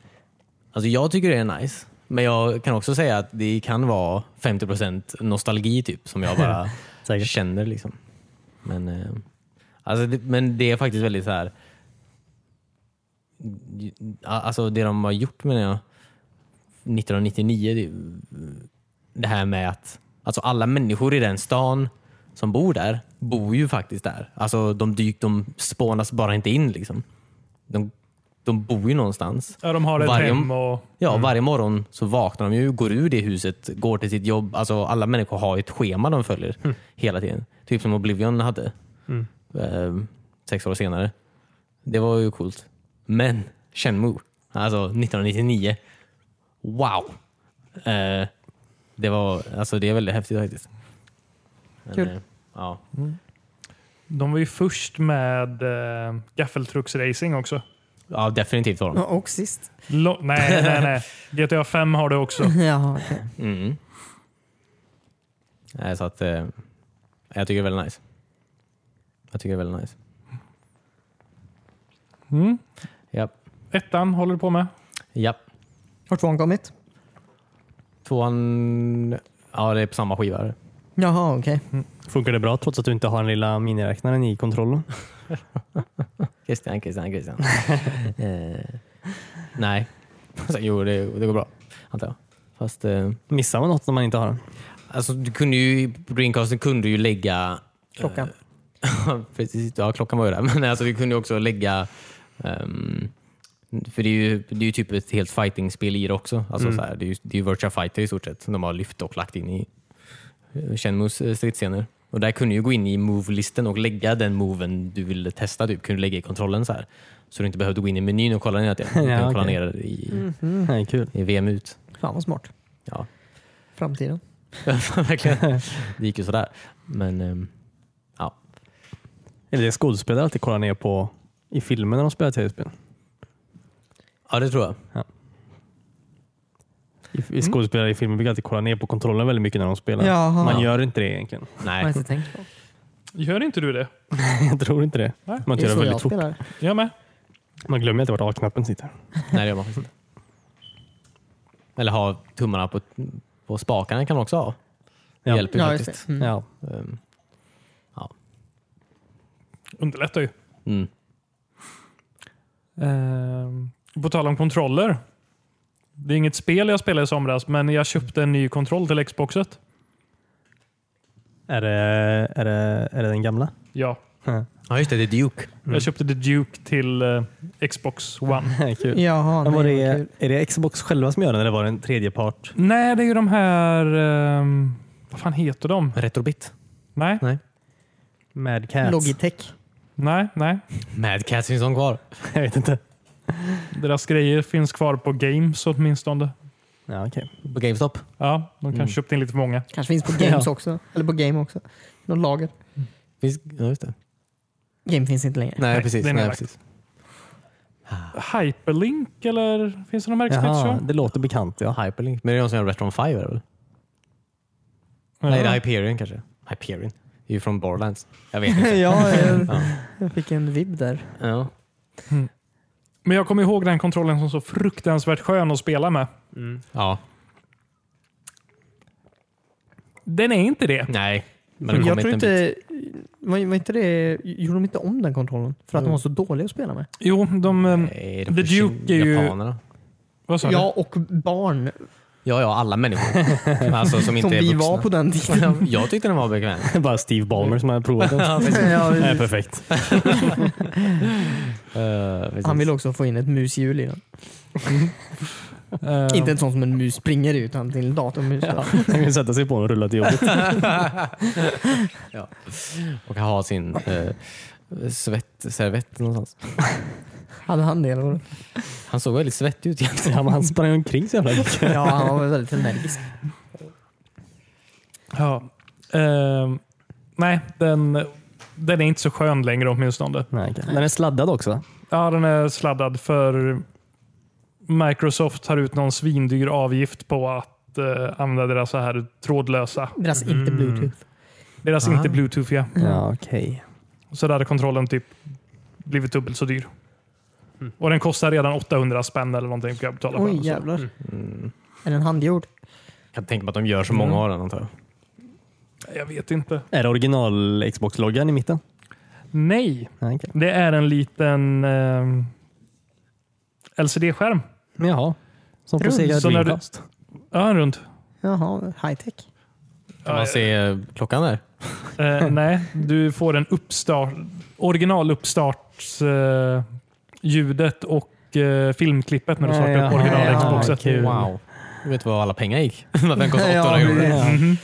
S1: alltså, jag tycker det är nice. Men jag kan också säga att det kan vara 50% nostalgi typ, som jag bara
S2: Säkert.
S1: känner. Liksom. Men, eh, alltså, det, men det är faktiskt väldigt så här... Alltså det de har gjort menar jag, 1999, det, mm, det här med att alltså alla människor i den stan som bor där, bor ju faktiskt där. Alltså de, dyk, de spånas bara inte in. liksom. De, de bor ju någonstans.
S4: Ja, de har ett
S1: Varje-
S4: hem och...
S1: Ja, varje morgon så vaknar de ju, går ur det huset, går till sitt jobb. Alltså alla människor har ju ett schema de följer hela tiden. Typ som Oblivion hade. Eh, sex år senare. Det var ju coolt. Men Shenmue, alltså 1999. Wow! Eh, det var, alltså det är väldigt häftigt faktiskt. Men,
S3: Kul.
S1: eh, Ja.
S4: De var ju först med äh, gaffeltrucksracing också.
S1: ja, definitivt var de.
S3: Ja, Och sist.
S4: Lo- nej, nej, nej. GTA 5 har det också.
S3: Ja, okej.
S1: Mm. Nej, så att, eh, jag tycker det är väldigt nice. Jag tycker det är väldigt nice.
S4: Mm.
S1: Japp.
S4: Ettan håller du på med.
S1: Japp.
S3: Har tvåan kommit?
S1: Tvåan, ja det är på samma skiva. det.
S3: Jaha, okej.
S2: Funkar det bra trots att du inte har den lilla miniräknaren i kontrollen?
S1: Christian, Christian, Christian. eh, nej. Så, jo, det, det går bra. Antar jag. Fast eh,
S2: Missar man något när man inte har den?
S1: alltså, du kunde ju, på Dreamcasten kunde du ju lägga Eh.
S3: Klockan.
S1: Ja, Precis, ja klockan var ju där. Men alltså, vi kunde ju också lägga... ehm, för det är, ju, det är ju typ ett helt fighting-spel i det också. Alltså,
S2: Mm.
S1: så här, det är ju det är ju Virtua Fighter i stort sett som de har lyft och lagt in i Shenmus stridsscener. Och där kunde du ju gå in i move-listen och lägga den moven du ville testa. Typ. Kunde du lägga i kontrollen så här. Så du inte behövde gå in i menyn och kolla ner det. Du kunde
S2: Ja,
S1: kolla
S2: okej. Mm.
S1: ner det i,
S3: Mm.
S2: Nej, kul.
S1: i VM ut.
S3: Fan vad smart.
S1: Ja,
S3: Framtiden.
S1: verkligen. Det gick ju sådär. Men ehm, ja,
S2: Eller det skådespelare alltid kollar ner på i filmer när de spelar tv-spel.
S1: ja det tror jag.
S2: I,
S3: Mm.
S2: i skådespelare i filmer brukar alltid kolla ner på kontrollen väldigt mycket när de spelar.
S3: Jaha.
S2: Man
S1: Ja.
S2: gör inte det egentligen.
S3: Jag
S1: Nej.
S3: har inte tänkt på.
S4: Gör inte du det?
S2: Jag tror inte det.
S4: Nej.
S2: Man
S3: Det är
S2: gör det
S3: så
S2: väldigt
S3: jag
S2: fort.
S3: spelar.
S4: Jag med.
S2: Man glömmer inte vart A-knappen sitter.
S1: Nej, det gör man faktiskt inte. Eller ha tummarna på, på spakarna kan man också ha. Det
S2: Ja.
S1: hjälper ju
S3: Ja, just
S1: faktiskt.
S3: det. Mm.
S2: Ja.
S1: Ehm,
S4: Underlättar ju.
S1: Mm.
S4: Ehm, på tal om kontroller. Det är inget spel jag spelade i somras, men jag köpte en ny kontroll till Xboxet.
S2: Är, det, är, det, är det den gamla?
S4: Ja,
S1: Ja, just det. Det är Duke.
S4: jag köpte The Duke till eh, Xbox One.
S2: kul.
S3: Jaha,
S2: Men var
S3: nej,
S2: det,
S3: vad kul.
S2: är det Xbox själva som gör den eller var det en tredje part?
S4: Nej, det är ju de här... ehm, vad fan heter de?
S1: Retrobit.
S4: Nej,
S2: Mad Cats?
S3: Logitech.
S4: nej, nej.
S1: Mad Cats finns de kvar.
S2: Jag vet inte.
S4: Deras grejer finns kvar på Games åtminstone.
S2: Ja, okej.
S1: På GameStop.
S4: Ja, de kanske
S1: Mm.
S4: köpte in lite för många.
S3: Kanske finns på Games
S2: Ja.
S3: också. Eller på Game också. Något lager.
S1: Finns, ja, just det.
S3: Game finns inte längre.
S1: Nej,
S4: Nej,
S1: precis.
S4: det är
S1: Nej,
S4: nedlagt.
S1: precis.
S4: Hyperlink eller finns det någon
S2: Jaha,
S4: märkesbyte?
S2: det låter bekant. Ja.
S1: Hyperlink. Men det är de som gör Retron 5 eller? väl? Nej, det är Hyperion kanske. Hyperion. Det är ju från Borderlands. Jag vet inte.
S3: ja, jag,
S1: ja.
S3: jag fick en vibb där.
S1: Ja.
S4: Men jag kommer ihåg den kontrollen som så fruktansvärt skön att spela med.
S1: ja.
S4: Den är inte det.
S1: Nej. Men det kom
S3: Jag tror
S1: inte... en bit.
S3: inte... Var, var inte det... Gjorde de inte om den kontrollen? För att de var så dåliga att spela med?
S4: Jo, de... ehm,
S1: Nej,
S4: The
S1: försvinner-
S4: Duke är ju-
S1: Japanerna.
S4: Vad sa
S3: Ja, och barn.
S1: Ja, ja. Alla människor. alltså, som inte
S3: Som
S1: är
S3: vi
S1: vuxna.
S3: var på den tiden.
S1: Jag tyckte den var bekväm.
S2: Bara Steve Ballmer som har provat den.
S1: Ja, precis.
S3: Ja,
S2: Det är
S3: precis.
S2: perfekt.
S1: Eh, precis.
S3: Han vill också få in ett mushjul i den.
S4: du? Eh,
S3: Inte en sån som en mus springer i, utan till en datormus.
S2: Ja, han kan sätta sig på den och rulla till jobbet.
S1: ja. Och ha sin eh, svettservett någonstans.
S3: Hade han det? Eller?
S1: Han såg väldigt svettig ut egentligen.
S2: Ja, men han sprang omkring så jävla mycket.
S3: Ja, han var väldigt energisk.
S4: ja. Ehm, nej, den, den är inte så skön längre åtminstone.
S2: Nej, okej. Den är sladdad också.
S4: Ja, den är sladdad för Microsoft tar ut någon svindyr avgift på att eh, använda deras så här trådlösa.
S3: Deras inte bluetooth.
S4: Deras
S1: Ah.
S4: inte bluetooth ja.
S2: Ja, okej.
S4: Så där hade kontrollen typ blivit dubbelt så dyr. Och den kostar redan 800 spänn eller någonting. Kan jag betala för den,
S3: Oj
S4: så.
S3: jävlar. Är den handgjord?
S1: Jag kan tänka mig att de gör så många
S3: Mm.
S1: av den antar jag.
S4: Jag vet inte.
S2: Är det original Xbox-loggan i mitten?
S4: Nej,
S2: Ja, okej.
S4: det är en liten ehm, LCD-skärm.
S2: Jaha. Som på
S4: Rund,
S2: Sega
S4: så när du-
S2: Dreamcast.
S4: Ja, en rund.
S3: Jaha, high tech.
S1: Kan
S4: Ja,
S1: man se eh, klockan där?
S4: Eh, nej, du får en uppstart, originaluppstartsljudet eh, ljudet och eh, filmklippet när du
S2: Ja,
S4: startar
S2: ja,
S4: upp original
S3: ja, ja,
S4: Xboxet.
S2: kul.
S1: Wow. Du vet vad alla pengar gick? Varför den kostade
S3: Ja,
S1: 800
S3: det är
S1: kronor?
S3: det.
S2: Ja.
S4: Mhm.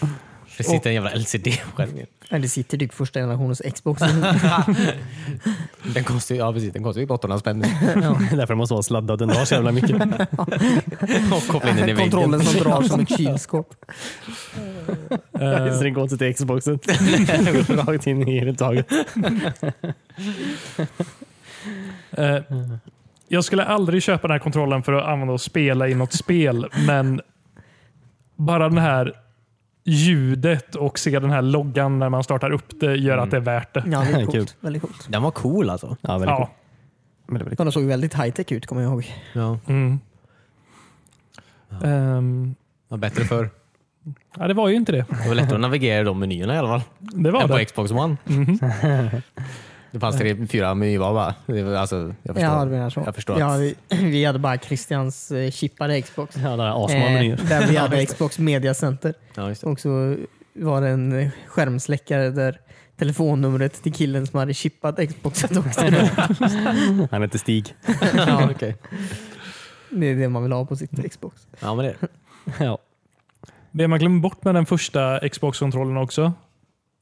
S1: Det sitter en jävla LCD-skärm.
S3: Nej, Det sitter typ första generationens Xbox.
S1: Den kostar ju ja, precis, den kostar ju bara 800 spänn.
S2: Därför måste vara sladdad. Den drar så jävla mycket.
S1: Och koppla in den i väggen.
S3: Kontrollen som drar som ett kylskåp.
S4: Eh,
S2: Så den går inte till Xboxen. Rakt in i huvudtaget.
S4: Eh, jag skulle aldrig köpa den här kontrollen för att använda och spela i något spel, men bara det här ljudet och se den här loggan när man startar upp det gör att det är värt det.
S3: Ja, det är
S2: Kul.
S3: coolt. Väldigt coolt.
S1: Den var cool alltså.
S2: Ja, väldigt
S4: Ja.
S2: coolt. Men det är väldigt
S3: De såg ju väldigt high-tech ut kommer jag ihåg.
S1: Ja.
S4: Mm. Ehm,
S1: Var bättre förr.
S4: ja, det var ju inte det.
S1: Det var lättare att navigera i de menyerna i alla fall.
S4: Det var
S1: än på
S4: det.
S1: Xbox One. Det fanns tre, fyra menyval bara. Det var- Alltså, jag förstår.
S3: Ja, det menar så.
S1: Jag förstår
S3: ja,
S1: att-
S3: vi, vi hade bara Christians eh, chippade Xbox.
S2: Ja, det är asmånga menyer.
S3: Eh, där vi hade Xbox Media Center.
S1: Ja, just det.
S3: Och så var det en eh, skärmsläckare där telefonnumret till killen som hade chippat Xboxet också.
S2: Han heter Stig.
S1: ja, okej.
S3: det är det man vill ha på sitt Xbox.
S1: ja, men det är det.
S2: Ja.
S4: Det man glömmer bort med den första Xbox-kontrollen också,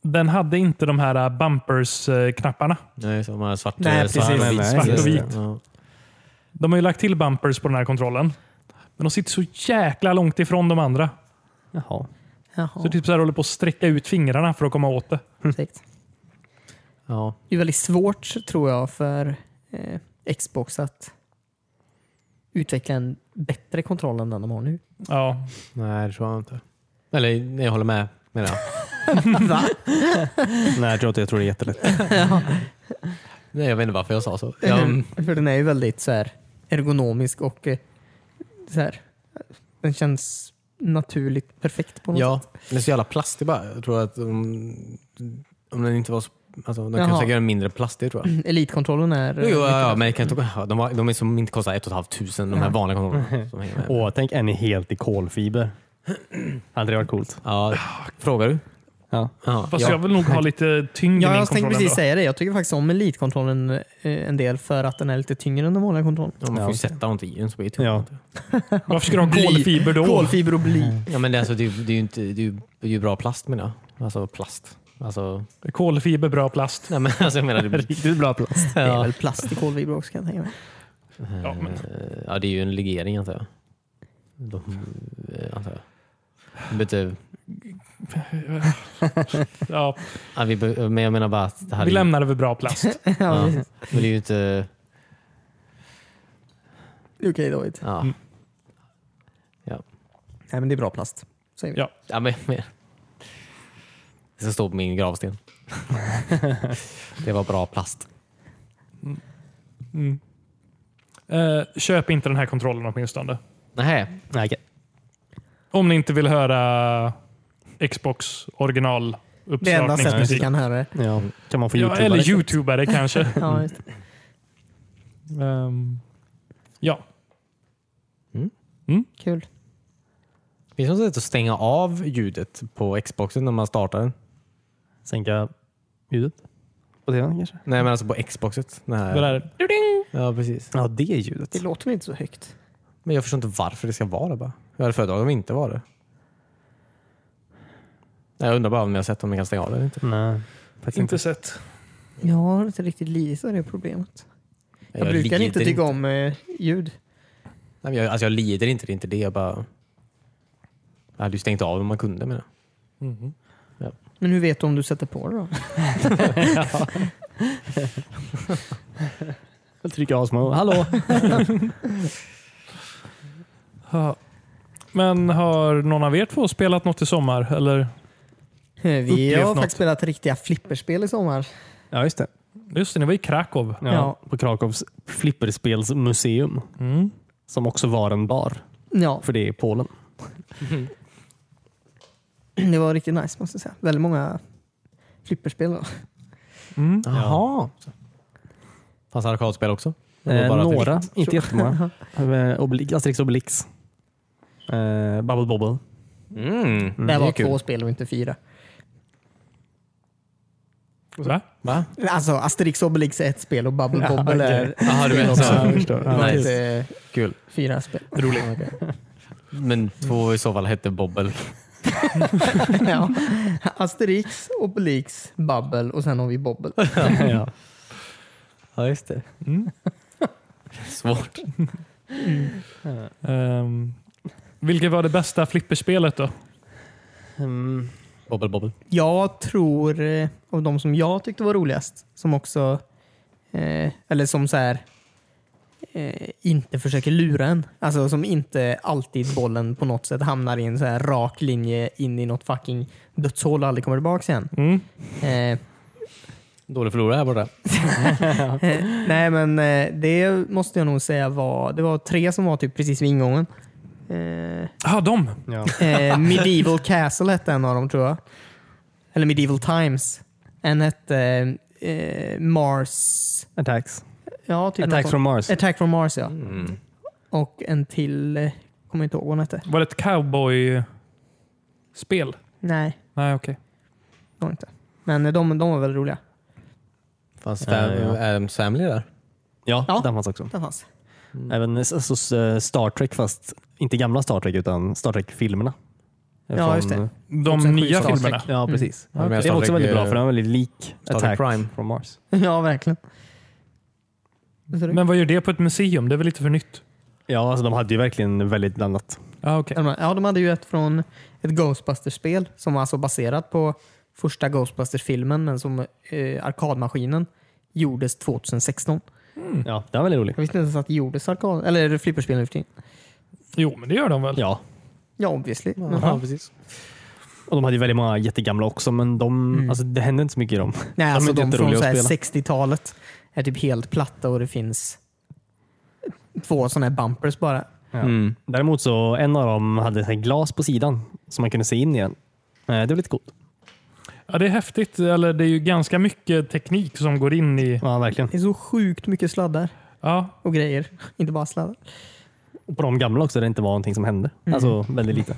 S4: den hade inte de här äh, bumpers-knapparna.
S1: Nej, så man har eh, svart,
S3: Nej,
S1: svart,
S3: precis.
S1: och vit.
S2: Nej,
S4: Svart
S2: just
S4: och
S2: det.
S4: vit.
S1: Ja.
S4: De har ju lagt till bumpers på den här kontrollen. Men de sitter så jäkla långt ifrån de andra.
S2: Jaha.
S4: Så
S3: Jaha,
S4: typ så här håller på att sträcka ut fingrarna för att komma åt det.
S3: perfekt.
S1: Ja.
S3: Det är väldigt svårt tror jag för eh, Xbox att utveckla en bättre kontroll än den de har nu.
S4: Ja,
S1: Nej, det tror jag inte. Eller nej, jag håller med. Menar jag.
S2: Nej, jag tror inte. Jag tror det är jättelätt.
S1: Nej, jag vet inte varför jag sa så. mm. Jag,
S3: För den är ju väldigt så här, ergonomisk och eh, så här, den känns naturligt perfekt på något
S1: ja, den är så jävla plastig bara. Jag tror att om, om den inte var så... Alltså, de kan
S3: Jaha. Mm.
S1: säkert göra den mindre plastig tror jag.
S3: sätt. Elitkontrollen är...
S1: Jo, jo, ja, ja, men jag kan inte, ja, de, var, de är som inte kostar ett och ett halvt tusen, de här
S3: Ja.
S1: vanliga kontrollerna. som hänger med.
S2: Åh, tänk en är helt i kolfiber. Hade det varit coolt?
S1: Ja, frågar du?
S2: Ja.
S1: Ja,
S4: fast
S1: ja.
S4: jag vill nog ha lite tyngd
S3: Ja,
S4: i min
S3: jag tänkte
S4: kontroll.
S3: precis
S4: ändå.
S3: säga det. Jag tycker faktiskt om elitkontrollen eh, en del för att den är lite tyngre än den vanliga kontrollen.
S1: Ja, man får
S2: Ja,
S1: ju
S2: okej.
S1: sätta något i den så blir det
S2: Ja.
S1: tungt.
S4: Varför ska du ha
S3: Bly.
S4: kolfiber då?
S3: Kolfiber och bly.
S1: ja, men det, är alltså, det, är ju- det är ju inte, det är ju- det är ju bra plast menar jag. Alltså plast. Alltså,
S4: Kolfiber, bra plast.
S1: nej, men, alltså jag menar, det,
S2: Riktigt bra plats.
S3: Det är
S1: ja,
S3: väl plast i kolfiber också kan jag tänka mig.
S4: Ja, men,
S1: Eh, ja, det är ju en legering antar jag. De, eh, antar jag. De behöver inte-
S4: ja,
S1: ja, vi be, men jag menar bara att det här
S4: vi
S1: är ju-
S4: lämnar det vid bra plast.
S1: Ja,
S3: Ja, precis.
S1: men det är ju inte...
S3: Det är Okej David.
S1: Ja.
S3: Nej men det är bra plast. Säger vi.
S4: Ja.
S1: Ja, men, men. Det ska stå på min gravsten. det var bra plast.
S4: Eh, köp inte den här kontrollen åtminstone.
S1: Nej,
S2: Nej, okej.
S4: Om ni inte vill höra Xbox
S3: Det enda sättet vi
S4: originaluppstartningsmusik.
S3: kan höra det.
S2: ja. Kan man få liksom?
S4: Ja,
S2: youtubare?
S4: eller youtubare kanske.
S3: Ja, just. det.
S4: Ehm, ja.
S3: Kul.
S1: finns det något sätt att stänga av ljudet på Xboxen när man startar den?
S2: Sänka ljudet på tvn kanske?
S1: Nej, men alltså på Xboxet. Nej.
S4: Det där.
S1: Ja, precis.
S2: Ja, det ljudet.
S3: Det låter väl inte så högt?
S1: Men jag förstår inte varför det ska vara det bara. Jag hade föredragit om det inte var det. Nej, Jag undrar bara om jag har sett om jag kan stänga av det eller inte.
S2: Nej, faktiskt inte.
S4: Inte sett.
S3: Jag har inte riktigt lidit av det problemet. Jag, brukar
S1: lider
S3: inte tycka om eh, ljud.
S1: Nej, men jag, alltså jag lider inte, det är inte det. Jag bara... Jag hade ju stängt av om man kunde menar jag.
S4: Mhm.
S3: Men hur vet du om du sätter på det då?
S2: Jag trycker asmånga. Hallå!
S4: Ja. Men har någon av er två spelat något i sommar? Eller?
S3: Eh, Vi
S4: Upplevt
S3: har
S4: något?
S3: faktiskt spelat riktiga flipperspel i sommar.
S2: Ja, just det.
S4: Just det, ni var i Krakow.
S2: Ja,
S3: Ja.
S2: På Krakows flipperspelsmuseum.
S4: Mm.
S2: Som också var en bar.
S3: Ja,
S2: För det är i Polen.
S3: det var riktigt nice måste jag säga. Väldigt många flipperspel. Då.
S4: Mm.
S1: Jaha. Fanns arkadspel också? Det var
S2: Eh,
S1: bara att vi-
S2: några, inte jättemånga. Eh, Obli- Asterix och Obelix. Eh, Bubble Bobble.
S1: Mm.
S3: det
S1: är
S3: var
S1: kul.
S3: två spel och inte fyra.
S4: Va?
S1: Va?
S3: Alltså Asterix och Obelix är ett spel och Bubble
S2: Ja,
S3: Bobble
S2: okej.
S3: är
S1: Jaha, du menar
S3: också.
S1: så.
S2: förstår.
S3: var
S1: nice.
S3: inte
S1: Kul.
S3: fyra spel.
S1: Roligt. Men två i så fall hette Bobbel.
S3: ja. Asterix, Obelix, Babbel och sen har vi Bobbel.
S2: ja.
S1: Ja, just det.
S4: Mm.
S1: Svårt.
S4: Ehm, vilket var det bästa flipperspelet då?
S2: Mm.
S1: Bobbel, bobbel.
S3: Jag tror, eh, av de som jag tyckte var roligast, som också, eh, eller som så här, eh, inte försöker lura en. Alltså som inte alltid bollen på något sätt hamnar i en så här rak linje in i något fucking dödshål och aldrig kommer tillbaka igen.
S4: Mm.
S3: Eh,
S1: Dålig förlorare här borta.
S3: Eh, Nej, men eh, det måste jag nog säga var... Det var tre som var typ precis vid ingången. Eh,
S4: Ah, de!
S2: Ja.
S3: eh, Medieval Castle hette en av dem, tror jag. Eller Medieval Times. En hette eh, Mars...
S2: Attacks.
S3: Ja, typ
S2: Attacks
S3: något
S2: from
S3: sånt.
S2: Mars.
S3: Attack from Mars, ja.
S1: Mm.
S3: Och en till... Eh, kommer inte ihåg vad hon hette.
S4: Var det ett cowboy-spel?
S3: Nej,
S4: Nej, okej.
S3: det var inte. Men eh, de, de var väl roliga.
S1: Fanns
S2: Ja,
S1: fam-
S2: ja.
S1: Adams Family där?
S2: Eh, Ja,
S3: Ja.
S2: den fanns också.
S3: Den fanns. Mm.
S2: Även eh, så, så, eh, Star Trek, fast inte gamla Star Trek utan Star Trek-filmerna.
S3: Ja, just det. Mm. Och
S4: De
S3: sen
S4: nya
S3: sju Star
S4: filmerna.
S2: Ja, precis.
S1: Ja, men
S2: Det
S1: Star
S2: är också
S1: Trek,
S2: väldigt bra
S1: eh,
S2: för den är väldigt lik
S1: Trek
S2: Attack
S1: Prime.
S2: from Mars.
S3: ja, verkligen.
S4: Men vad gör det på ett museum? Det är väl lite för nytt?
S2: Ja, alltså, de hade ju verkligen väldigt blandat.
S4: Ah, okej.
S3: Ja, de hade ju ett från ett Ghostbusters-spel som var alltså baserat på första Ghostbusters-filmen men som eh, arkadmaskinen gjordes 2016. Mm.
S2: Ja, den var väldigt rolig.
S3: Jag visste inte ens att det gjordes arkad eller flipperspel nu för tiden.
S4: Jo, men det gör de väl?
S2: Ja,
S3: Ja, obviously. Men,
S1: precis.
S2: och de hade ju väldigt många jättegamla också, men de,
S3: Mm.
S2: alltså, det hände inte så mycket i dem.
S3: nej, alltså
S2: är inte
S3: de från
S2: jätteroliga
S3: så här
S2: att
S3: 60-talet är typ helt platta och det finns två sådana här bumpers bara.
S1: Mm.
S2: Däremot så, en av dem hade så här glas på sidan som man kunde se in igen. Eh, Det var lite coolt.
S4: Ja, det är häftigt. Eller det är ju ganska mycket teknik som går in i...
S2: Ja, verkligen.
S3: Det är så sjukt mycket sladdar
S4: Ja,
S3: och grejer. Inte bara sladdar.
S2: Och på de gamla också, där det inte var någonting som hände.
S3: Mm.
S2: Alltså väldigt lite.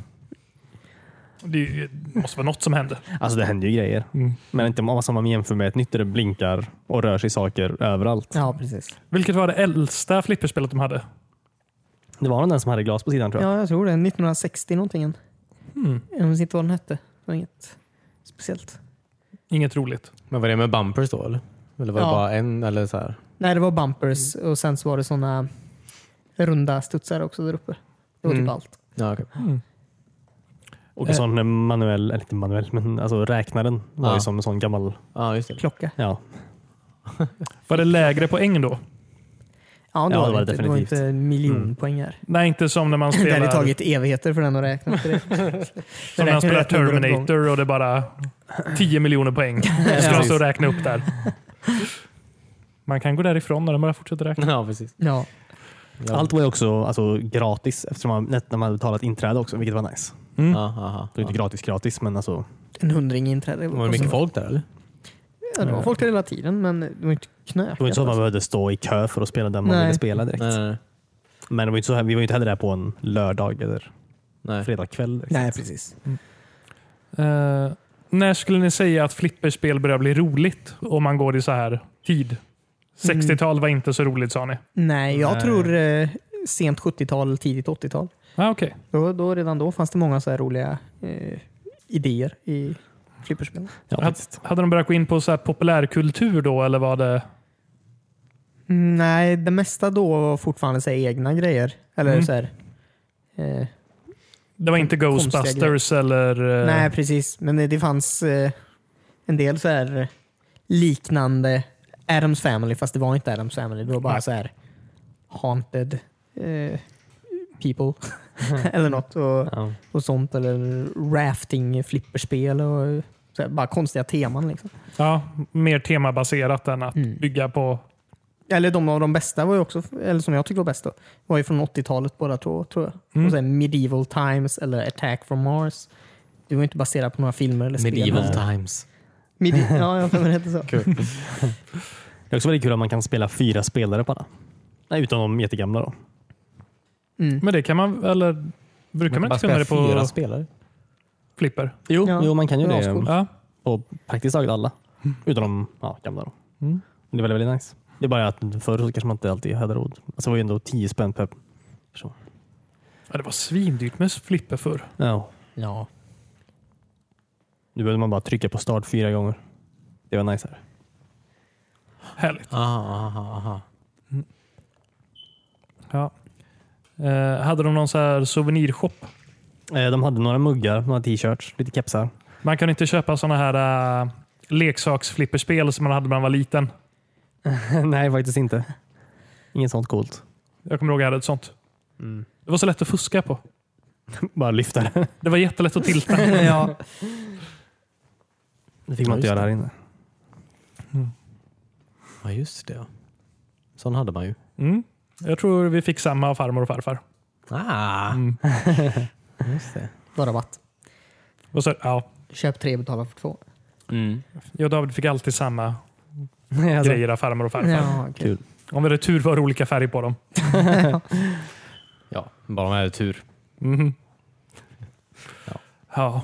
S4: det är ju- det måste vara något som händer.
S2: Alltså det händer ju grejer.
S4: Mm.
S2: Men inte om som man jämför med ett nytt där det blinkar och rör sig saker överallt.
S3: Ja, precis.
S4: Vilket var det äldsta flipperspelet de hade?
S2: Det var nog den som hade glas på sidan tror jag.
S3: Ja, jag tror det. 1960 någonting.
S4: Mm.
S3: Jag minns inte vad den hette. Det var inget speciellt.
S4: Inget roligt.
S1: Men var det med bumpers då eller? Eller var det
S3: Ja.
S1: bara en? Eller så här?
S3: Nej, det var bumpers och sen så var det såna runda studsar också där uppe. Det var
S1: Mm.
S3: typ allt.
S1: Ja, okej.
S2: Och en sån eh, manuell, eller inte manuell, men alltså räknaren var
S1: Ja.
S2: ju som en sån gammal.
S1: ja just det.
S3: Klocka.
S2: Ja,
S4: Var det lägre poäng då?
S3: Ja, det,
S2: Ja,
S3: var
S2: det var
S3: det, inte.
S2: det
S3: det var
S2: definitivt. Mm.
S3: inte en miljon poäng här.
S4: Nej, inte som när man
S3: Det
S4: spelar,
S3: hade tagit evigheter för den att räkna. Till det.
S4: som när man
S3: räknar
S4: spelar
S3: rätt nummer åt
S4: Terminator och det är bara 10 miljoner poäng. Ska man stå och räkna upp där. Man kan gå därifrån när de bara fortsätter räkna.
S1: Ja, precis.
S3: Ja.
S1: Ja.
S2: Allt var ju också alltså, gratis eftersom man, när man hade betalat inträde också, vilket var nice.
S4: Mm.
S1: Ja, aha,
S2: Det var inte
S1: ja.
S2: gratis gratis, men alltså.
S3: En hundring i inträde.
S1: Var det mycket folk där eller?
S3: Ja, det var folk där hela tiden, men det var inte knökat.
S2: Det var inte så att man behövde stå i kö för att spela den man
S3: Nej.
S2: ville spela direkt.
S1: Nej, nej,
S2: Men det var ju inte så här, vi var ju inte heller där på en lördag eller
S1: nej. nej.
S2: fredagkväll. liksom. direkt.
S3: Nej, precis.
S4: Eh, när skulle ni säga att flipperspel börjar bli roligt om man går i så här tid? 60-tal var inte så roligt sa ni.
S3: Nej, jag
S2: Nej.
S3: tror eh, sent 70-tal, tidigt 80-tal.
S4: Ah, okej.
S3: Då, då, redan då fanns det många så här roliga eh, idéer i flipperspel.
S2: Ja,
S4: Hade,
S2: faktiskt.
S4: hade de börjat gå in på så här populärkultur då eller var det...
S3: Mm, Nej, det mesta då var fortfarande så här, egna grejer. Eller
S4: Mm.
S3: så här, eh,
S4: Det var inte
S3: Konstiga
S4: Ghostbusters eller... eh,
S3: Nej, precis. Men det, det fanns eh, en del så här liknande Adams Family, fast det var inte Adams Family. Det var bara
S4: Nej.
S3: så här haunted eh, people
S4: Mm.
S3: eller något. Och,
S2: Ja.
S3: och sånt. Eller rafting, flipperspel och så här, bara konstiga teman. Liksom.
S4: Ja, mer temabaserat än att
S3: Mm.
S4: bygga på...
S3: Eller de av de bästa var ju också, eller som jag tyckte var bäst då, var ju från 80-talet båda två tror jag.
S4: Mm.
S3: Och sen Medieval Times eller Attack from Mars. Det var ju inte baserat på några filmer eller spel.
S1: Medieval times.
S3: Medi- ja, jag har för mig det hette så.
S2: Det är också väldigt kul att man kan spela fyra spelare på alla. Nej, utom de jättegamla då.
S3: Mm.
S4: Men det kan man... Eller brukar man,
S1: bara
S4: inte kunna det
S1: spela
S4: på
S1: fyra spelare.
S4: flipper?
S2: Jo,
S3: Ja.
S2: jo man kan ju
S3: Det var
S2: det
S3: ascoolt.
S1: Mm.
S4: Ja.
S2: på praktiskt taget alla. Utom de ja, gamla då.
S4: Mm.
S2: Det är väldigt, väldigt nice. Det är bara att förr så kanske man inte alltid hade råd. Alltså det var ju ändå 10 spänn per person.
S4: ja, det var svindyrt med flipper förr.
S2: Ja.
S3: Ja.
S2: Nu behövde man bara trycka på start fyra gånger. Det var nice här.
S4: Härligt.
S2: Aha, aha, aha.
S4: Ja. Eh, hade de någon så här souvenirshop?
S2: Eh, De hade några muggar, några t-shirts, lite kepsar.
S4: Man kan inte köpa sådana här uh, leksaksflipperspel som man hade när man var liten.
S2: Nej, faktiskt inte. Inget sånt coolt.
S4: Jag kommer ihåg jag hade ett sånt. Det var så lätt att fuska på.
S2: Bara lyfta det.
S4: Det var jättelätt att tilta.
S3: ja.
S2: Det fick
S1: Ja,
S2: man
S1: just
S2: inte göra här inne.
S1: Ja, just det. ja. Sån hade man ju.
S4: Mm. Jag tror vi fick samma av farmor och farfar.
S1: Ah,
S4: Mm.
S1: just det.
S3: Då rabatt.
S4: Och så, ja,
S3: Köp tre, betala för två.
S1: Mm.
S4: jag och David fick alltid samma
S2: alltså,
S4: grejer av farmor och farfar.
S3: Ja, okej.
S2: kul.
S4: Om vi hade tur var det olika färg på dem.
S1: Ja, bara man hade tur.
S4: Mhm.
S1: Ja.
S4: Ja.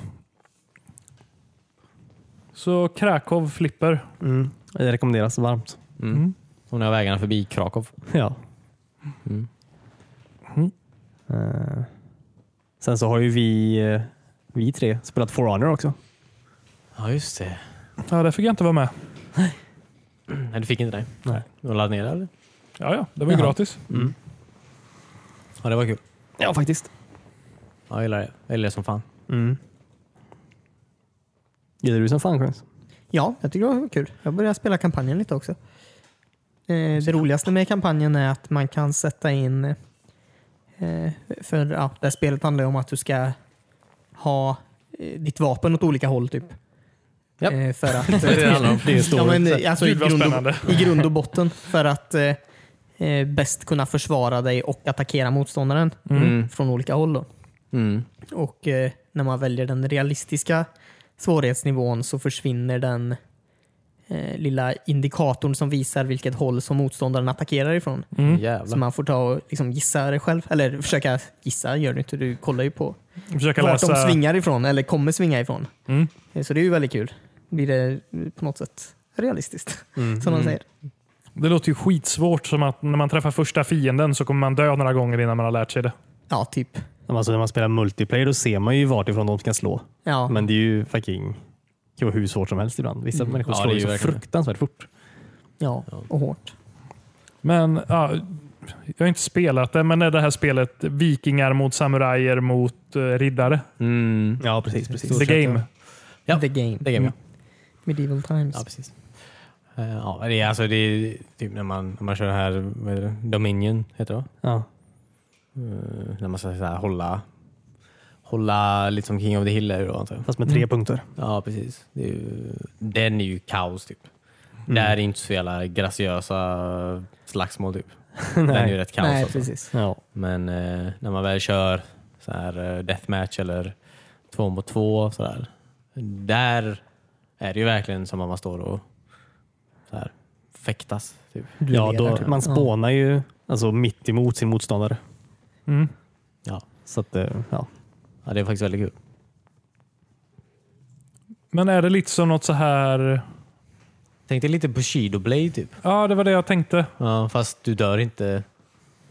S4: Så Krakow flipper.
S2: Mm. Det rekommenderas varmt.
S1: Mm.
S4: Mm.
S1: Och när jag vägarna förbi Krakow.
S2: Ja.
S1: Mm.
S4: Mm.
S2: Eh, Sen så har ju vi, eh, vi tre spelat For Honor också.
S1: Ja, just det.
S4: Ja, där fick jag inte vara med.
S1: Nej, du fick inte det?
S2: Nej.
S1: Du har laddat ner det eller?
S4: Ja, ja, det var ju
S2: Jaha.
S4: gratis.
S1: Ja, det var kul.
S2: Ja, faktiskt.
S1: Ja, jag gillar det. Jag gillar det som fan.
S2: Mm. Gillar du som fan Chris?
S3: Ja, jag tycker det var kul. Jag började spela kampanjen lite också. Eh, Det roligaste med kampanjen är att man kan sätta in... eh, För ja, det här spelet handlar ju om att du ska ha eh, ditt vapen åt olika håll typ.
S1: Japp.
S3: Eh, För att...
S2: Det är
S3: ja, men,
S2: stort.
S3: eh, alltså, i,
S4: Gud, vad
S3: grund
S4: spännande.
S3: och, I grund och botten för att eh, eh, bäst kunna försvara dig och attackera motståndaren
S1: Mm.
S3: från olika håll. Då.
S1: Mm.
S3: Och eh, när man väljer den realistiska svårighetsnivån så försvinner den eh, lilla indikatorn som visar vilket håll som motståndaren attackerar ifrån.
S1: Mm.
S3: Så
S1: Jävlar.
S3: man får ta och liksom gissa det själv. Eller försöka gissa, gör du inte. Du kollar ju på
S4: Försöka
S3: vart
S4: läsa.
S3: de svingar ifrån eller kommer svinga ifrån.
S4: Mm.
S3: Eh, Så det är ju väldigt kul. Blir det på något sätt realistiskt,
S2: Mm.
S3: som de säger.
S4: Det låter ju skitsvårt som att när man träffar första fienden så kommer man dö några gånger innan man har lärt sig det.
S3: Ja, typ.
S2: Alltså, när man spelar multiplayer då ser man ju vart ifrån de ska slå.
S3: Ja.
S2: Men det är ju fucking det kan vara hur svårt som helst ibland.
S3: Mm.
S2: Vissa människor
S1: Ja,
S2: slår
S1: det är
S2: ju
S1: ju
S2: så
S1: verkligen det.
S2: fruktansvärt fort.
S3: Ja, och hårt.
S4: Men ja, Jag har inte spelat det, men är det här spelet vikingar mot samurajer mot eh, riddare?
S1: Mm.
S2: Ja, precis. precis.
S4: The game.
S1: Ja.
S3: The game.
S1: Det kan vi.
S3: Medieval Times.
S1: Ja, precis. Eh, Ja, det är alltså det är typ när man, när man kör det här, vad heter det? Dominion heter det va?
S2: Ja.
S1: Eh, När man ska så här, hålla, hålla lite som King of the Hill är det då antar jag.
S2: Fast med tre
S3: Mm.
S2: punkter.
S1: Ja, precis. Det är ju, den är ju kaos typ. Där är inte så jävla graciösa slagsmål typ. Den är ju rätt kaos.
S3: Nej,
S1: alltså.
S3: precis.
S2: Ja.
S1: Men eh, när man väl kör så här, eh, deathmatch eller två mot två, så där, där är det ju verkligen som att man står och så här, fäktas. Typ.
S3: Du
S2: ja
S3: lever,
S2: då,
S3: typ.
S2: man spånar ju alltså, mitt emot sin motståndare.
S4: Mm.
S1: Ja.
S2: Så att, eh, ja.
S1: ja, det är faktiskt väldigt kul.
S4: Men är det lite som något så här...
S1: Tänk dig lite på Shidoblade typ.
S4: Ja, det var det jag tänkte.
S1: Ja, fast du dör inte.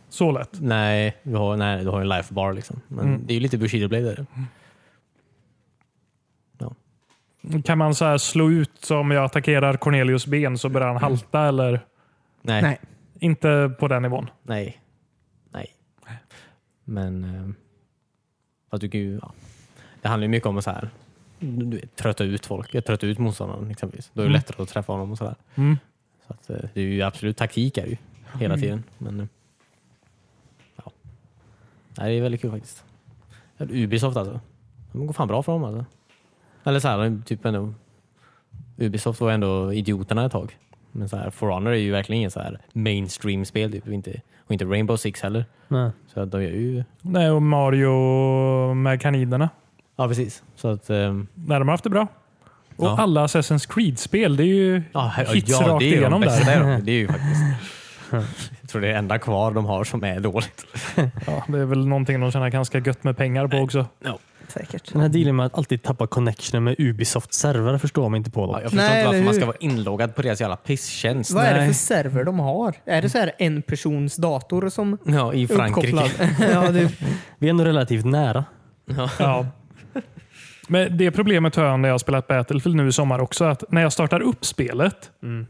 S4: Så lätt.
S1: Nej, du har, nej, du har en life bar liksom. Men
S4: Mm.
S1: det är ju lite Bushido Blade där.
S4: Kan man så här slå ut, så om jag attackerar Cornelius ben så börjar han halta eller?
S1: Nej, nej.
S3: Nej.
S4: Inte på den nivån.
S1: nej. Men eh, fast du kan ju, ja. det handlar ju mycket om att så här, du vet, trötta ut folk. Jag tröttar ut motståndaren exempelvis. Då är det
S4: Mm.
S1: lättare att träffa honom och sådär.
S4: Mm.
S1: Så att, eh, det är ju absolut taktik är det ju hela tiden. Men eh, ja. Nej, det är väldigt kul faktiskt. Ja, Ubisoft alltså. De går fan bra för dem alltså. Eller så här, de är typ ändå, Ubisoft var ändå idioterna ett tag. Men så här, For Honor är ju verkligen inget så här mainstream-spel typ. Och inte, och inte Rainbow Six heller. Så att de gör ju...
S4: Nej, och Mario med kaninerna.
S1: Ja, precis. Så att... ehm,
S4: När de har haft det bra. Och
S1: Ja.
S4: alla Assassin's Creed-spel, det är ju
S1: Ja, här-
S4: hits
S1: ja,
S4: rakt
S1: det är ju
S4: igenom
S1: de
S4: där.
S1: bästa, där. Det är ju faktiskt... Jag tror det är det enda kvar de har som är dåligt.
S4: Ja, det är väl någonting de tjänar ganska gött med pengar på också.
S3: Säkert.
S2: Den här dealen med att alltid tappa connectionen med Ubisofts servrar förstår man inte på.
S1: Ja,
S2: Då.
S1: jag förstår
S3: Nej,
S1: inte varför
S3: eller
S1: man
S3: hur?
S1: ska vara inloggad på deras jävla pisstjänst.
S3: Vad är det
S2: Nej.
S3: för server de har? Är det så här en persons dator som
S1: Ja, i
S3: är
S1: Frankrike.
S3: uppkopplad? ja, det,
S2: Vi är ändå relativt nära.
S4: Ja. Men det problemet har jag när jag har spelat Battlefield nu i sommar också. Att när jag startar upp spelet
S1: Mm.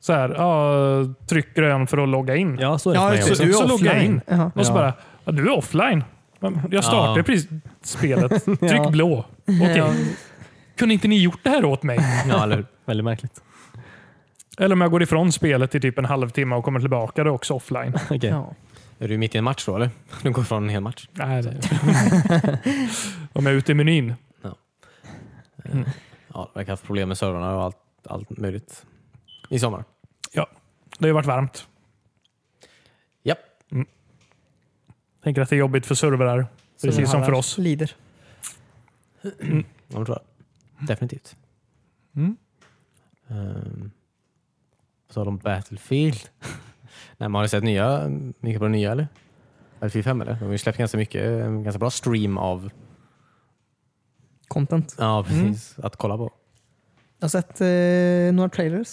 S4: så här, ja, tryck grön för att logga in.
S2: Ja, så är det
S3: Ja,
S2: för mig
S3: så
S2: också.
S3: du
S4: Så
S3: är
S4: logga
S3: offline.
S4: in.
S3: Jaha.
S4: Och så
S2: Ja.
S4: bara, ja, du är offline. Men Jag startade
S1: Ja.
S4: precis spelet. Tryck
S2: Ja.
S4: blå. Okej. Kunde inte ni gjort det här åt mig?
S1: Ja, eller hur?
S2: Väldigt märkligt.
S4: Eller om jag går ifrån spelet i typ en halvtimme och kommer tillbaka, då är jag också offline.
S2: Okej.
S3: Ja.
S1: Är du mitt i en match då eller? Du går från en hel match.
S4: Nej, det... om jag är ute i menyn.
S1: Ja, verkar ha haft problem med servrarna och allt, allt möjligt. I sommar.
S4: Det har ju varit varmt. Mm.
S1: Japp.
S4: Tänker att det är jobbigt för servrar. Precis som för oss.
S3: Lider.
S1: Ja, det tror jag. Definitivt.
S4: Mm.
S1: Ehm, Vad sa de? Battlefield? Nej, men har ni sett nya, mycket på det nya eller? Battlefield 5 eller? De har ju släppt ganska mycket, en ganska bra stream av
S3: Content.
S1: ja, precis, att kolla på.
S3: Jag har sett eh, några trailers,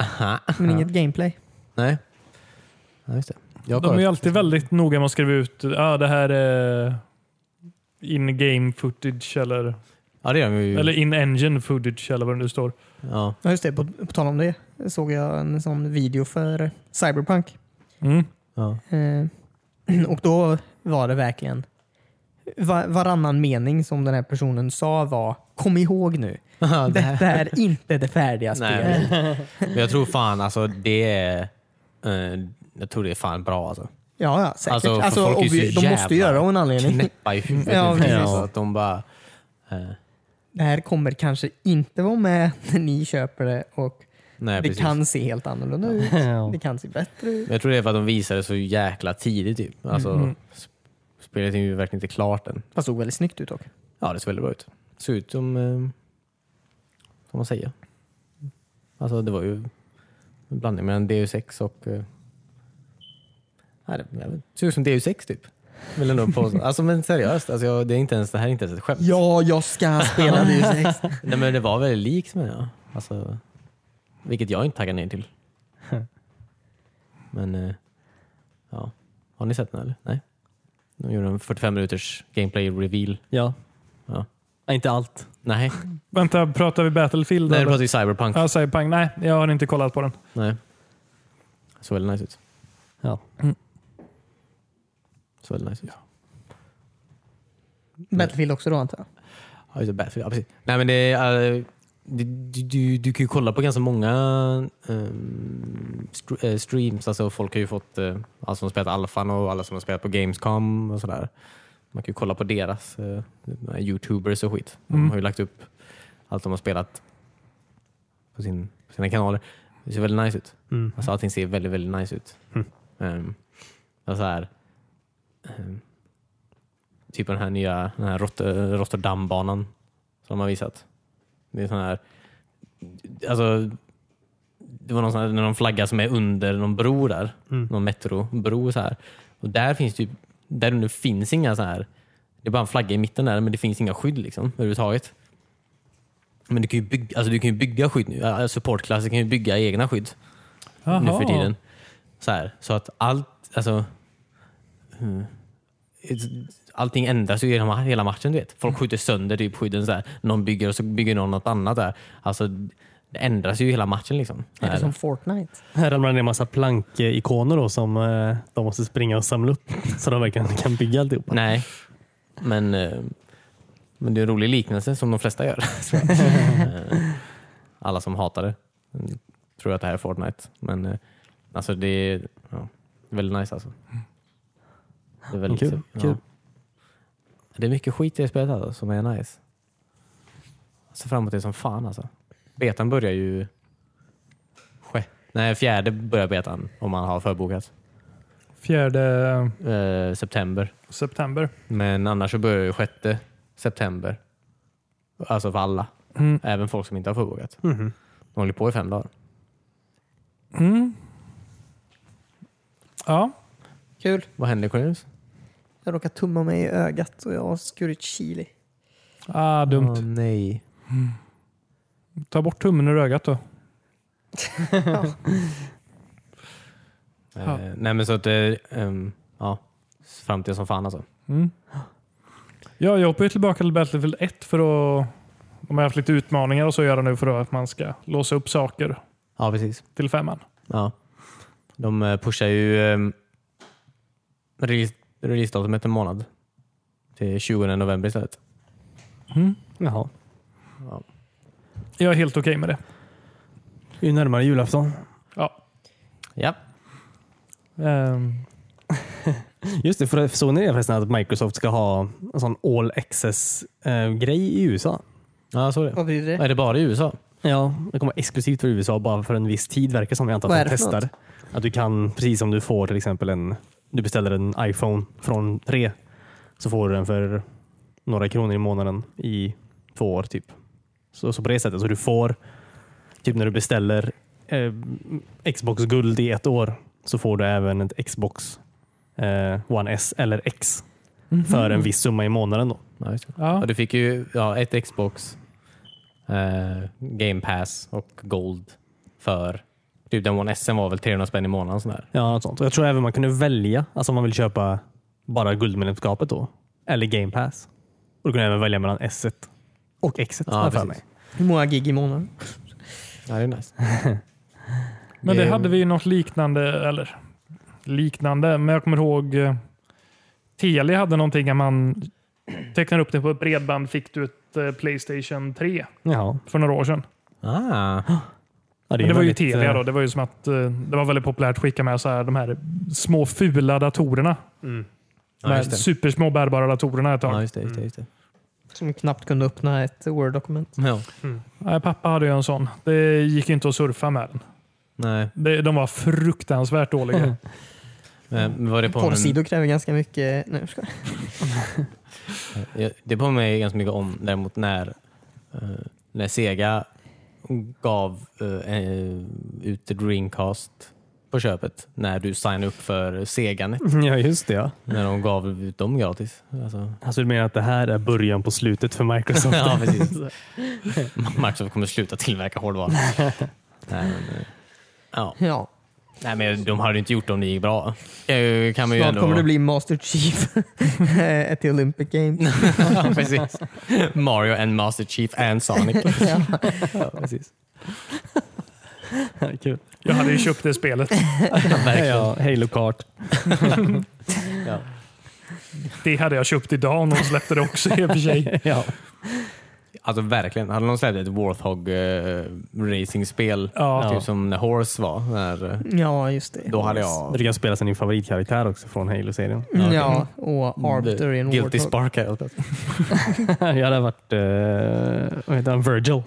S1: Aha.
S3: men inget gameplay.
S1: Nej. Ja, just det. Jag har
S4: De är ju
S1: kollat.
S4: alltid väldigt noga med att skriva ut ah, det här är in-game footage eller,
S1: Ja, det är de ju.
S4: eller in-engine footage eller vad det nu står.
S1: Ja.
S3: Ja, just det. På, på tal om det såg jag en sån video för Cyberpunk.
S4: Mm.
S1: Ja.
S3: Eh, och då var det verkligen va- varannan mening som den här personen sa var Kom ihåg nu, detta är inte det färdiga spelet.
S1: Nej, men jag tror fan alltså det är, eh, jag tror det är fan bra alltså.
S3: Ja, ja, säkert.
S1: Alltså,
S3: Alltså,
S1: för folk är ju så
S3: obvi- de måste ju
S1: jävla
S3: göra av en anledning.
S1: Knäppa i huvudet.
S3: Ja,
S1: nu för tiden,
S3: precis.
S1: så att de bara, eh,
S3: Det här kommer kanske inte vara med när ni köper det och
S1: nej,
S3: det
S1: precis.
S3: kan se helt annorlunda ut.
S2: Ja.
S3: Det kan se bättre ut.
S1: Men Jag tror det är för att de visar det så jäkla tidigt. Typ. Alltså, sp- Spelet är ju verkligen inte klart än.
S3: Fast såg väldigt snyggt ut dock.
S1: Ja, det ser väldigt bra ut. Det ser ut som, eh, vad man säger. Alltså det var ju en blandning mellan DU6 och... Eh, nej, det, jag vet, det ser ut som DU6 typ. Vill jag nog påstå. Alltså men seriöst, alltså, jag, det, är inte ens, det här är inte ens ett skämt.
S3: Ja, jag ska spela DU6.
S1: Nej, men det var väldigt likt med jag. Alltså, vilket jag inte taggar nej till. Men eh, ja, har ni sett den eller? Nej? De gjorde en 45 minuters gameplay reveal.
S2: Ja.
S1: Ja.
S2: Nej, Inte allt.
S1: Nej,
S4: Vänta, pratar vi
S1: nej
S4: Battlefield? Nej,
S1: nu pratar
S4: eller?
S1: vi cyberpunk.
S4: Ja, Cyberpunk. Nej, jag har inte kollat på den.
S1: Nej. Såg väldigt nice ut.
S2: Ja.
S1: Mm. Såg väldigt nice ut.
S3: Battlefield också då antar jag.
S1: Ja, just det, Battlefield. Ja, precis. Nej, men det, är, eh, det, du, du, du kan ju kolla på ganska många ehm, str- eh, streams. Alltså, folk har ju fått, eh, alla som har spelat alfan och alla som har spelat på Gamescom och sådär. Man kan ju kolla på deras eh, de här youtubers och skit. De
S4: Mm.
S1: har ju lagt upp allt de har spelat på, sin, på sina kanaler. Det ser väldigt nice ut.
S2: Mm.
S1: Alltså, allting ser väldigt, väldigt nice ut.
S2: Mm.
S1: Ehm, det var så här, ehm, typ den här nya den här Rot- Rotterdambanan som de har visat. Det är sån här, alltså, det var någon, sån här, någon flagga som är under någon bro där.
S2: Mm.
S1: Någon metrobro. Så här. Och där finns typ, där under finns inga så här, det är bara en flagga i mitten där men det finns inga skydd liksom överhuvudtaget. Men du kan ju bygga, alltså du kan ju bygga skydd nu. Äh, Supportklasser kan ju bygga egna skydd nu för tiden. Så, här, så att allt, alltså, mm, it's- allting ändras ju genom hela matchen. Du vet.
S3: Mm.
S1: Folk skjuter sönder typ skydden. Så här. Någon bygger och så bygger någon något annat. Där. Alltså, det ändras ju hela matchen. Liksom.
S3: Är det som Fortnite?
S2: Här ramlar det ner en massa plankikoner då som eh, de måste springa och samla upp så de verkligen kan bygga alltihopa.
S1: Nej, men, eh, men det är en rolig liknelse som de flesta gör. tror jag. Eh, Alla som hatar det mm, tror att det här är Fortnite. Men eh, alltså det är ja, väldigt nice alltså. Det är väldigt
S2: Kul,
S1: Ja.
S2: kul.
S1: Det är mycket skit i det spelet alltså, som är nice. Jag ser fram emot det som fan alltså. Betan börjar ju... Sje. Nej, fjärde börjar betan om man har förbokat.
S4: 4
S1: Eh, september.
S4: september.
S1: Men annars så börjar ju 6 september. Alltså för alla.
S4: Mm.
S1: Även folk som inte har förbokat. De håller på i fem dagar.
S4: Mm. Ja,
S3: Kul.
S1: Vad händer Cornelius?
S3: Jag råkade tumma mig i ögat och jag har skurit chili.
S4: ah, dumt.
S1: Åh, nej.
S4: Ta bort tummen ur ögat då.
S1: Eh, nej men så att, eh, ehm, ja. Framtiden som fan alltså.
S4: Mm. Ja, jag hoppar ju tillbaka till Battlefield 1 för att de har haft lite utmaningar och så göra nu för att man ska låsa upp saker
S2: Ja, precis.
S4: till femman.
S2: Ja.
S1: De eh, pushar ju ehm, release- releasedatumet en månad till 20 november istället.
S2: Jaha.
S4: Jag är helt okej med det.
S2: Ju närmare julafton.
S4: Ja.
S1: Ja.
S4: Ehm,
S2: Just det, för såg ni det förresten att Microsoft ska ha en sån all access-grej i USA?
S1: Ja, jag såg det.
S3: Vad betyder det?
S1: Är det bara i USA?
S2: Ja, det kommer vara exklusivt för USA bara för en viss tid verkar som. Jag antar
S3: Vad är
S2: att de
S3: det för
S2: testar. Att du kan, precis som du får till exempel en, du beställer en iPhone från 3 så får du den för några kronor i månaden i två år typ. Så, så på det sättet, så du får, typ när du beställer eh, Xbox guld i ett år så får du även ett Xbox eh, One S eller X
S3: Mhm.
S2: för en viss summa i månaden. Då.
S1: Ja, just det.
S4: ja.
S1: Ja, du fick ju ja, ett Xbox, eh, Game Pass och Gold för typ den One S var väl 300 spänn i månaden. Sån där.
S2: Ja, något sånt. Och jag tror även man kunde välja, alltså om man vill köpa bara guldmedlemskapet då, eller game pass. Och du kunde även välja mellan S1 och X1.
S1: Ja,
S2: har jag för
S1: precis.
S2: mig.
S3: Hur många gig i månaden?
S1: Ja, det är nice.
S4: Men det
S1: Eh,
S4: hade vi ju något liknande, eller liknande, men jag kommer ihåg eh, Telia hade någonting där man tecknade upp det på ett bredband fick du ett eh, Playstation 3
S2: Jaha.
S4: för några år sedan.
S1: Ah,
S2: Ja,
S4: Det, men det
S2: är
S4: var ju
S2: väldigt,
S4: Telia
S2: eh,
S4: då. Det var ju som att eh, det var väldigt populärt att skicka med så här, de här små fula datorerna.
S1: Ja,
S4: de här
S1: just det.
S4: supersmå bärbara datorerna ett tag.
S1: ja, just det. Just det, just det.
S3: Som knappt kunde öppna ett Word-dokument.
S1: Ja.
S4: Nej, pappa hade ju en sån. Det gick ju inte att surfa med den.
S1: Nej.
S4: Det, de var fruktansvärt
S1: Mm.
S4: dåliga.
S1: Men var det på en,
S3: Porrsidor kräver ganska mycket... Nej, jag skojar.
S1: Ja, Det påminner mig ganska mycket om däremot när, eh, när Sega gav eh, eh, ut Dreamcast på köpet när du signade upp för Seganet.
S2: Ja, just det. Ja.
S1: När de gav ut dem gratis. Alltså,
S2: Alltså, du menar att det här är början på slutet för Microsoft?
S1: ja, precis. Microsoft kommer sluta tillverka hårdvara. Nej, men, eh, ja.
S3: Ja.
S1: Nej, men de hade ju inte gjort det om det gick bra. Eh, Kan man ju
S3: Snart
S1: ändå...
S3: kommer det bli Master Chief eh, till Olympic Games.
S1: ja, precis. Mario and Master Chief and Sonic.
S3: ja.
S2: ja, precis. Kul.
S4: Jag hade ju köpt det spelet.
S2: Ja, Halo Kart.
S4: Det hade jag köpt idag om de släppte det också i och för sig.
S2: ja.
S1: Alltså verkligen. Hade någon släppt ett Warthog eh, racingspel,
S4: Ja.
S1: typ som när Horse var, när, eh,
S3: ja, just det.
S1: då hade jag...
S2: Du kan spela som din favoritkaraktär också från Halo-serien.
S1: okej.
S3: Ja, och Arbiter i en
S1: Guilty
S3: Warthog.
S1: Spark hade jag spelat.
S2: jag hade varit, eh, vad heter han, Virgil.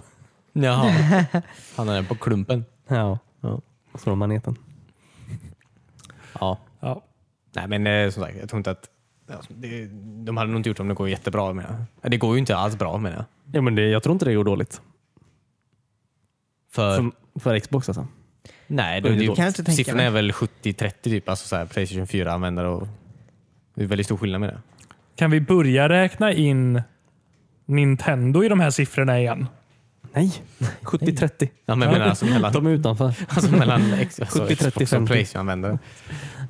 S1: Jaha. Han är på klumpen.
S2: Ja.
S1: Ja.
S2: Och så var maneten.
S1: Ja.
S4: Ja.
S1: Nej men eh, som sagt, jag tror inte att... ja, det- De hade nog inte gjort om det går jättebra menar jag. Ja, Det går ju inte alls bra menar jag.
S2: Ja, men det, jag tror inte det går dåligt.
S1: För,
S2: För, för Xbox alltså.
S1: nej,
S2: det
S1: det,
S2: är
S1: det,
S2: dåligt.
S3: Kan jag inte tänka
S1: siffrorna
S3: mig.
S1: är väl 70-30 typ, alltså så här, Playstation 4-användare och... Det är väldigt stor skillnad med det.
S4: Kan vi börja räkna in Nintendo i de här siffrorna igen?
S2: Nej, 70-30.
S1: Ja, men jag menar alltså mellan,
S2: De är utanför.
S1: alltså mellan ex, alltså,
S2: 70, 30,
S1: Xbox och
S2: 50.
S1: Playstation-användare.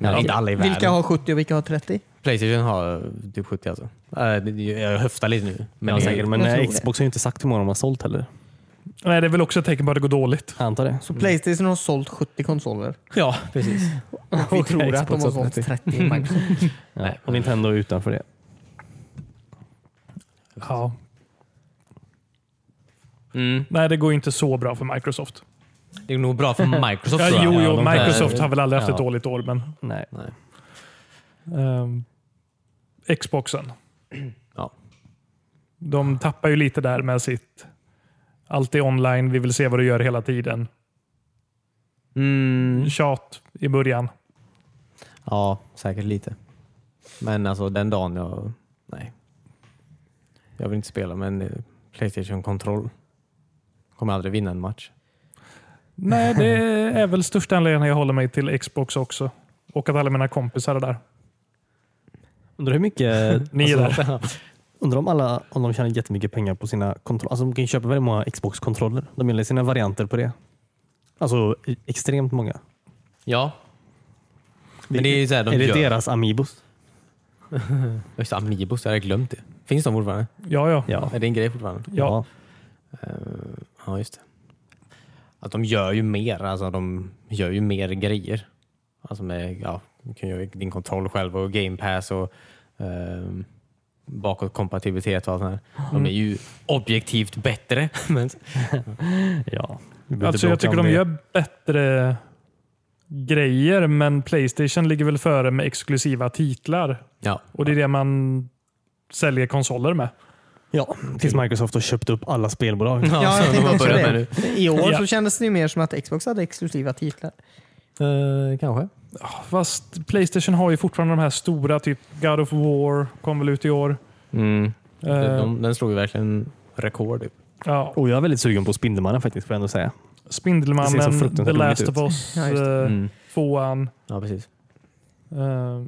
S1: Men Inte alla i världen.
S3: Vilka har 70 och vilka har 30?
S1: Playstation har typ 70 alltså. Äh, det- Jag höftar lite nu. Men
S2: Men,
S1: det-
S2: säkert, men
S3: jag tror
S2: eh,
S3: det.
S2: Xbox har ju inte sagt hur många de har sålt heller.
S4: Nej, det är väl också ett tecken på att det går dåligt.
S2: Jag antar det.
S3: Så Playstation har sålt 70 konsoler.
S1: Ja, precis.
S3: Vi
S2: Och
S3: tror att de
S2: Xbox
S3: har
S2: har
S3: sålt
S2: 30.
S3: 30 i Microsoft.
S2: Ja. Och Nintendo är utanför det.
S4: Ja.
S1: Mm.
S4: Nej, det går ju inte så bra för Microsoft.
S1: Det är nog bra för Microsoft
S4: Ja,
S1: tror jag.
S4: jo, jo,
S2: de här-
S4: Microsoft har väl aldrig haft
S2: Ja.
S4: ett dåligt år, men
S2: Nej.
S1: Nej.
S4: ehm, Xboxen.
S1: Ja.
S4: De tappar ju lite där med sitt allt är online, vi vill se vad du gör hela tiden.
S1: Mm.
S4: Tjat i början.
S1: ja, säkert lite. Men alltså den dagen jag... Nej. Jag vill inte spela med en eh, Playstation-kontroll. Kommer aldrig vinna en match.
S4: Nej, det är väl största anledningen jag håller mig till Xbox också. Och att alla mina kompisar är där.
S2: Undrar hur mycket... Alltså,
S4: Ni är där.
S2: Undrar om alla om de tjänar jättemycket pengar på sina kontroller. Alltså de kan ju köpa väldigt många Xbox-kontroller. De gillar sina varianter på det. Alltså i- extremt många.
S1: Ja, Men det är ju så här de
S2: är det
S1: gör.
S2: deras Amiibos?
S1: Just det, Amiibos, jag hade glömt det. Finns de fortfarande?
S4: Ja, ja.
S2: Ja.
S1: Är det en grej fortfarande?
S4: Ja.
S1: Eh, ja, just det. Att de gör ju mer, alltså de gör ju mer grejer. Alltså med, ja, du kan göra din kontroll själv och game pass och um, bakåtkompatibilitet och allt sånt här. De är ju objektivt bättre. men,
S2: ja. Vi behöver
S4: Alltså, jag
S2: inte bråka
S4: tycker
S2: om det.
S4: de gör bättre grejer, men Playstation ligger väl före med exklusiva titlar.
S1: ja,
S4: Och det är det man säljer konsoler med.
S2: Ja, tills Microsoft har köpt upp alla spelbolag.
S1: Ja,
S3: Ja,
S1: så de
S3: jag tänkte
S1: har
S3: också
S1: börjat
S3: det.
S1: med
S3: I år
S4: Ja.
S3: så kändes det ju mer som att Xbox hade exklusiva titlar.
S1: nu. Eh, kanske.
S4: Fast Playstation har ju fortfarande de här stora, typ God of War kom väl ut i år.
S1: Mm.
S4: Eh,
S1: De, den slog ju verkligen rekord. Typ.
S4: ja.
S2: Och jag är väldigt sugen på Spindelmannen faktiskt, får jag ändå säga. Det ser så
S4: Spindelmannen,
S2: fruktansvärt
S4: The Last
S2: roligt ut.
S4: of Us,
S3: Ja, just
S4: eh,
S1: Mm.
S4: tvåan.
S1: Ja, precis.
S4: Eh,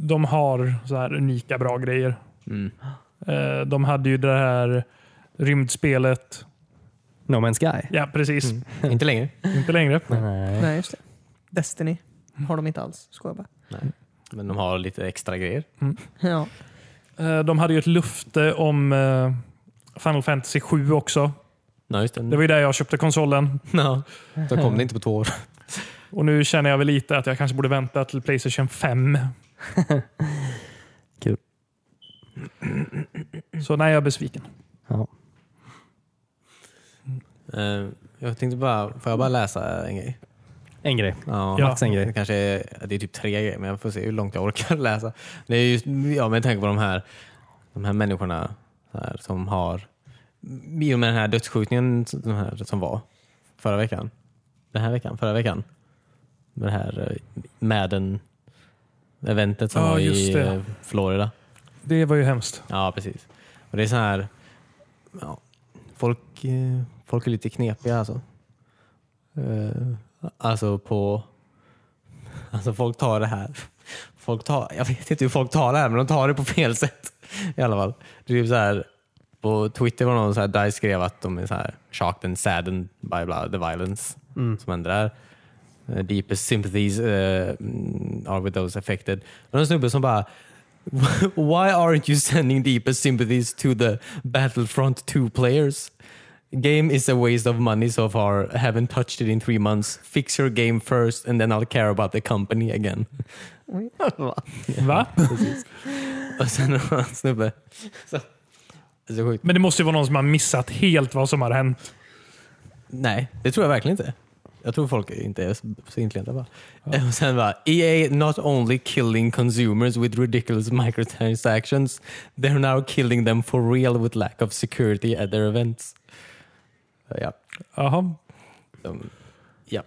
S4: de har så här unika bra grejer.
S1: Mm.
S4: Eh, de hade ju det här rymdspelet.
S2: No Man's Sky.
S4: Ja, precis.
S1: Inte längre.
S4: Inte längre.
S2: Mm. Nej.
S3: Nej, just det. Destiny har de inte alls. Skojar bara.
S1: Men de har lite extra grejer.
S3: Ja.
S4: Eh, de hade ju ett lufte om eh, Final Fantasy 7 också.
S1: Ja, just det.
S4: Det var ju där jag köpte konsolen.
S1: Ja. Så kom det inte på två år.
S4: Och nu känner jag väl lite att jag kanske borde vänta till Playstation 5.
S2: Kul.
S4: Så nej, jag är besviken.
S2: Ja.
S1: Eh, jag tänkte bara, får jag bara läsa en grej?
S2: En grej.
S1: Ja,
S4: Ja.
S2: Max en
S1: Det
S2: grej.
S1: kanske är, det är typ tre grejer, men jag får se hur långt jag orkar läsa. Det är just, ja, med tanke på de här, de här människorna så här, som har, i och med den här dödsskjutningen de här, som var förra veckan, den här veckan, förra veckan, med det här Madden eventet som
S4: Ja,
S1: var
S4: just
S1: i
S4: det.
S1: eh, Florida.
S4: Det var ju hemskt.
S1: Ja, precis. Och det är så här, ja, folk, eh, folk är lite knepiga alltså. Eh, Alltså på, alltså folk tar det här, folk tar, jag vet inte hur folk tar det här men de tar det på fel sätt i alla fall. Det är typ så här, på Twitter var någon så här, Dice skrev att de är så här shocked and saddened by blah, the violence som händer där. Eh, Deepest sympathies eh, mm, are with those affected. Men en snubbe som bara Why aren't you sending deepest sympathies to the Battlefront 2 players? Game is a waste of money so far. Haven't touched it in three months. Fix your game first and then I'll care about the company again.
S4: Va?
S1: Och sen var det en snubbe. Så, så sjukt.
S4: Men det måste ju vara någon som har missat helt vad som har hänt.
S1: Nej, det tror jag verkligen inte. Jag tror folk inte är så intelligenta bara. Och sen bara, EA not only killing consumers with ridiculous microtransactions, they're now killing them for real with lack of security at their events. Ja,
S4: Jaha.
S1: de, ja.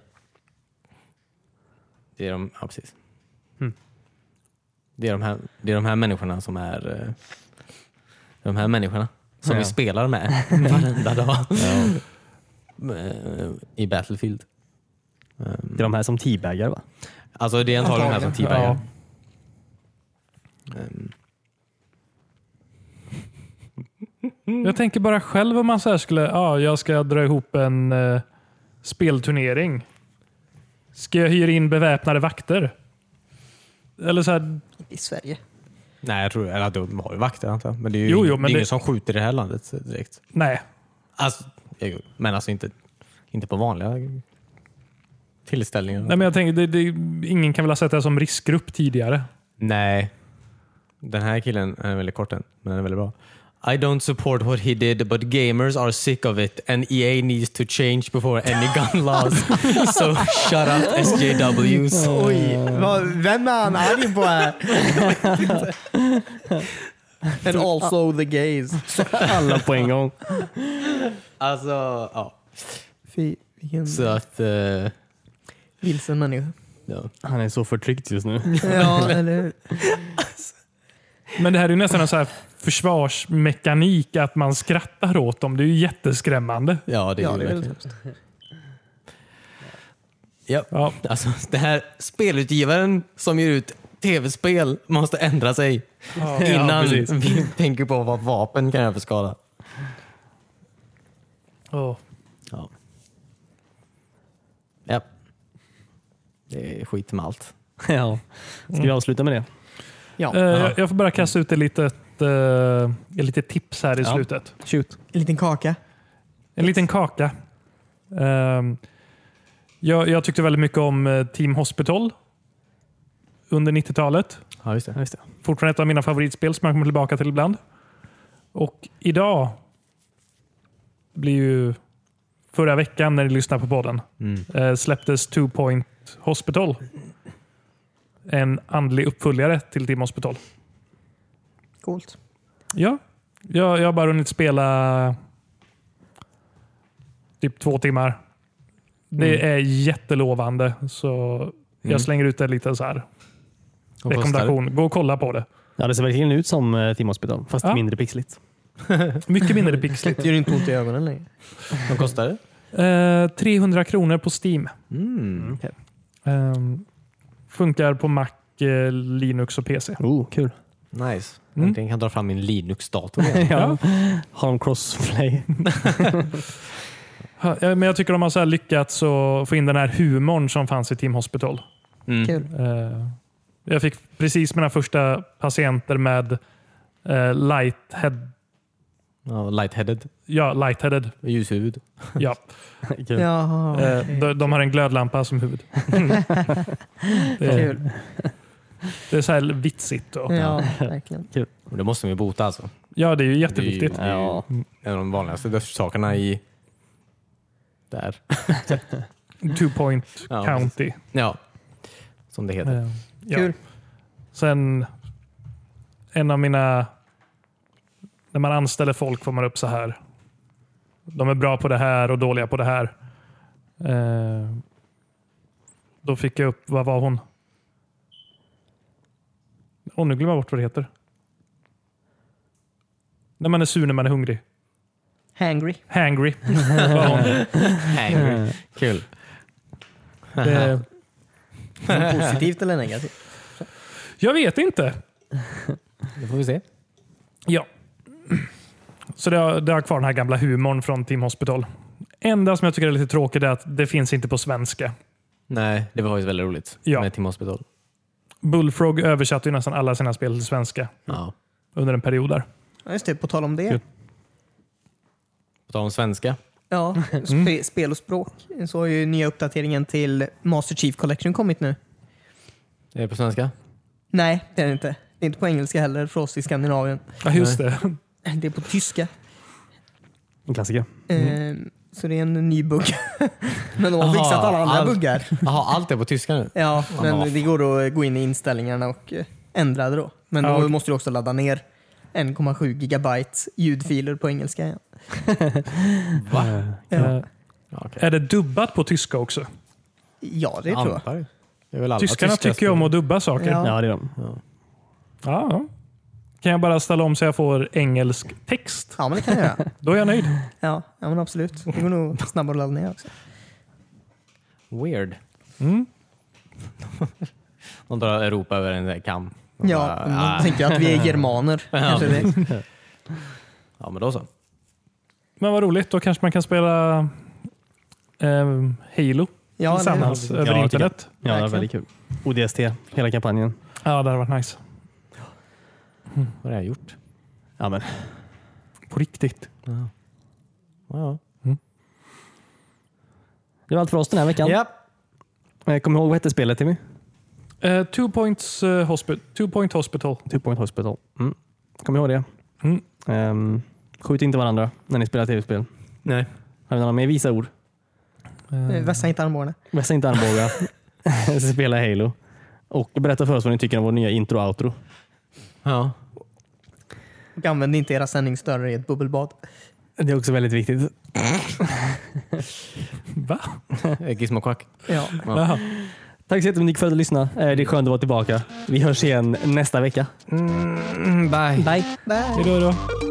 S1: Det är de, ja precis. Hmm. Det, är de här, det är de här människorna som är eh, de här människorna som vi
S2: Ja.
S1: spelar med varenda dag Eh, i Battlefield.
S2: Det är de här som teabagar va?
S1: Alltså det är antagligen de här som teabagar.
S4: Ja.
S1: Ehm,
S4: Jag tänker bara själv om man så här skulle, ja, jag ska dra ihop en eh, spelturnering. Ska jag hyra in beväpnade vakter? Eller så här,
S3: I Sverige.
S1: Nej, jag tror, eller de har ju vakter antar jag. Men det är ju
S4: Jo,
S1: ingen,
S4: jo, men
S1: det är
S4: det-
S1: ingen som skjuter i det här landet direkt.
S4: nej.
S1: Alltså, jo, men alltså inte, inte på vanliga tillställningar.
S4: nej men jag tänker, det, det, ingen kan väl ha sett det här som riskgrupp tidigare?
S1: Nej. Den här killen, han är väldigt kort än, men han är väldigt bra. I don't support what he did but gamers are sick of it and EA needs to change before any gun laws. so shut up SJWs.
S3: Oj, vad, vem är han arg på här? And also the gays.
S2: Alla på en gång.
S1: Alltså, ja.
S3: Fy, vilken
S1: Så att, eh,
S3: vilsen människa.
S1: ja.
S2: Han är så förtryckt just nu.
S3: Ja, eller hur?
S4: Men det här är ju nästan en så här försvarsmekanik, att man skrattar åt dem. Det är ju jätteskrämmande.
S1: ja, det är
S3: Ja,
S1: ju
S3: det är
S1: verkligen.
S3: väl
S1: Ja.
S4: Ja.
S1: Alltså, det här spelutgivaren som ger ut tv-spel måste ändra sig
S4: Ja,
S1: innan
S4: precis.
S1: vi tänker på vad vapen kan göra för skada.
S4: Ja.
S1: Ja. ja. Det är skit med allt.
S2: Mm. ja. Ska vi avsluta med det?
S3: Ja,
S4: Eh, jag, jag får bara kasta ut ett litet, eh, ett litet tips här i
S2: Ja.
S4: slutet.
S2: Shoot.
S3: en liten kaka.
S4: En liten kaka. Ehm, jag, jag tyckte väldigt mycket om eh, Team Hospital under 90-talet.
S1: Ja, just det.
S2: Ja, just det.
S4: Fortfarande ett av mina favoritspel som jag kommer tillbaka till ibland. Och idag blir ju förra veckan när ni lyssnade på podden
S1: Mm.
S4: eh, släpptes Two Point Hospital. En andlig uppföljare till Team Hospital.
S3: Coolt.
S4: Ja, jag, jag har bara hunnit spela typ två timmar. Det är jättelovande. Så
S1: Mm.
S4: jag slänger ut en liten så här
S1: Och
S4: rekommendation. Gå och kolla på det.
S2: Ja, det ser verkligen ut som eh, Team Hospital, fast
S4: Ja.
S2: mindre pixligt.
S4: Mycket mindre pixligt.
S3: Det gör inte ont i ögonen längre.
S1: Vad kostar det?
S4: Eh, 300 kronor på Steam.
S1: Mm.
S4: Ehm, funkar på Mac, eh, Linux och PC.
S2: Oh, kul.
S1: Nice.
S4: Mm.
S1: Äntligen kan jag dra fram min Linux-dator igen.
S2: Ja. Har de crossplay?
S4: Ha- eh, Men jag tycker de har så här lyckats att få in den här humorn som fanns i Team Hospital.
S1: Mm.
S3: Kul.
S4: Eh, jag fick precis mina första patienter med eh, lighthead,
S1: Ja, lightheaded.
S4: ja, lightheaded.
S1: Ljushuvud.
S4: Ja.
S2: Kul.
S3: Jaha,
S4: Eh,
S3: okej.
S4: de, de har en glödlampa som huvud. det, är,
S3: Kul.
S4: det är så här vitsigt. Och,
S3: Ja, verkligen.
S1: Och det måste man ju bota alltså.
S4: ja, det är ju
S1: Det är ju-
S4: jätteviktigt.
S1: det är ju
S2: Ja.
S1: En av de vanligaste dödsorsakerna i... Där.
S4: Two point
S1: Ja,
S4: county.
S1: Ja. Som det heter.
S4: Eh, ja.
S3: Kul.
S4: Sen en av mina... När man anställer folk får man upp så här. De är bra på det här och dåliga på det här. Eh, då fick jag upp, vad var hon? Åh, nu glömmer jag bort vad det heter. När man är sur när man är hungrig.
S3: Hangry.
S4: Hangry. var hon.
S1: Angry. Kul.
S4: Det,
S3: Positivt eller negativt?
S4: jag vet inte.
S1: Det får vi se.
S4: Ja. Så det har, det har kvar den här gamla humorn från Team Hospital. Enda som jag tycker är lite tråkigt är att det finns inte på svenska.
S1: Nej, det var ju väldigt roligt
S4: Ja. Mm.
S1: med Tim Hospital.
S4: Bullfrog översatte ju nästan alla sina spel till svenska
S1: Ja.
S4: under en period där.
S3: Ja, just det. På tal om det.
S2: Kul.
S1: På tal om svenska.
S3: Ja, spe, spel och språk. Så har ju nya uppdateringen till Master Chief Collection kommit nu.
S1: Är det på svenska?
S3: Nej, det är det inte. Det är inte på engelska heller för oss i Skandinavien.
S4: Ja, just det.
S3: Det är på tyska.
S2: En klassiker.
S3: Eh, så det är en ny bugg. men de har
S1: Aha,
S3: fixat alla andra
S1: allt.
S3: buggar.
S1: Jaha, allt är på tyska nu?
S3: Ja,
S1: Aha.
S3: men det går att eh, gå in i inställningarna och eh, ändra det då. Men då
S4: Ja, okej.
S3: måste du också ladda ner 1,7 gigabyte ljudfiler på engelska igen.
S1: Va?
S3: Ja,
S4: Eh,
S1: Ja, okay.
S4: Är det dubbat på tyska också?
S3: ja det tror jag.
S1: jag. Det är väl alla
S4: Tyskarna
S1: tyska
S4: tycker ju om att dubba saker. Ja.
S3: Ja.
S2: Ja, det är de.
S4: ja. Kan jag bara ställa om så jag får engelsk text?
S3: Ja, men det kan jag göra.
S4: Då är jag nöjd.
S3: Ja, ja men absolut. Det går nog snabbare att ladda ner också.
S1: spel. Weird.
S4: Mm.
S1: De drar Europa över en kam. De
S3: Ja, mm.
S1: bara,
S3: men
S1: "Ah."
S3: då tänker jag att vi är germaner. Kanske det.
S1: ja, men då så.
S4: Men vad roligt, då kanske man kan spela eh, Halo
S3: Ja, eller,
S4: tillsammans
S2: Ja,
S4: över
S2: tycker jag.
S4: internet.
S2: Ja, det var
S3: Verkligen.
S2: väldigt kul. ODST, hela kampanjen.
S4: Ja, det hade varit nice.
S1: Vad har jag gjort?
S2: Ja, men.
S4: På riktigt.
S1: Ja.
S2: Mm. Det var allt för oss den här veckan.
S1: Ja.
S2: Eh, Kom ihåg, vad hette spelet Timmy?
S4: Eh, two, points, eh, hospi- two Point Hospital.
S2: Two Point Hospital. Mm. Kom ihåg det.
S4: Mm.
S2: Ehm, skjut inte varandra när ni spelar tv-spel.
S1: Nej.
S2: Använda dem med visa ord.
S3: eh, vässa inte armbågarna.
S2: Vässa inte armbågar. spela Halo. Och berätta för oss vad ni tycker om vår nya intro och outro.
S1: Ja.
S3: Och använd inte era sändningsstörare i ett bubbelbad.
S2: Det är också väldigt viktigt.
S4: Va?
S1: Gizmo Quack.
S3: Ja.
S4: Jaha.
S2: Tack så jättemycket för att du lyssnade. Eh, Det är skönt att vara tillbaka. Vi hörs igen nästa vecka.
S1: Bye.
S2: Bye!
S3: Bye.
S4: Hejdå då.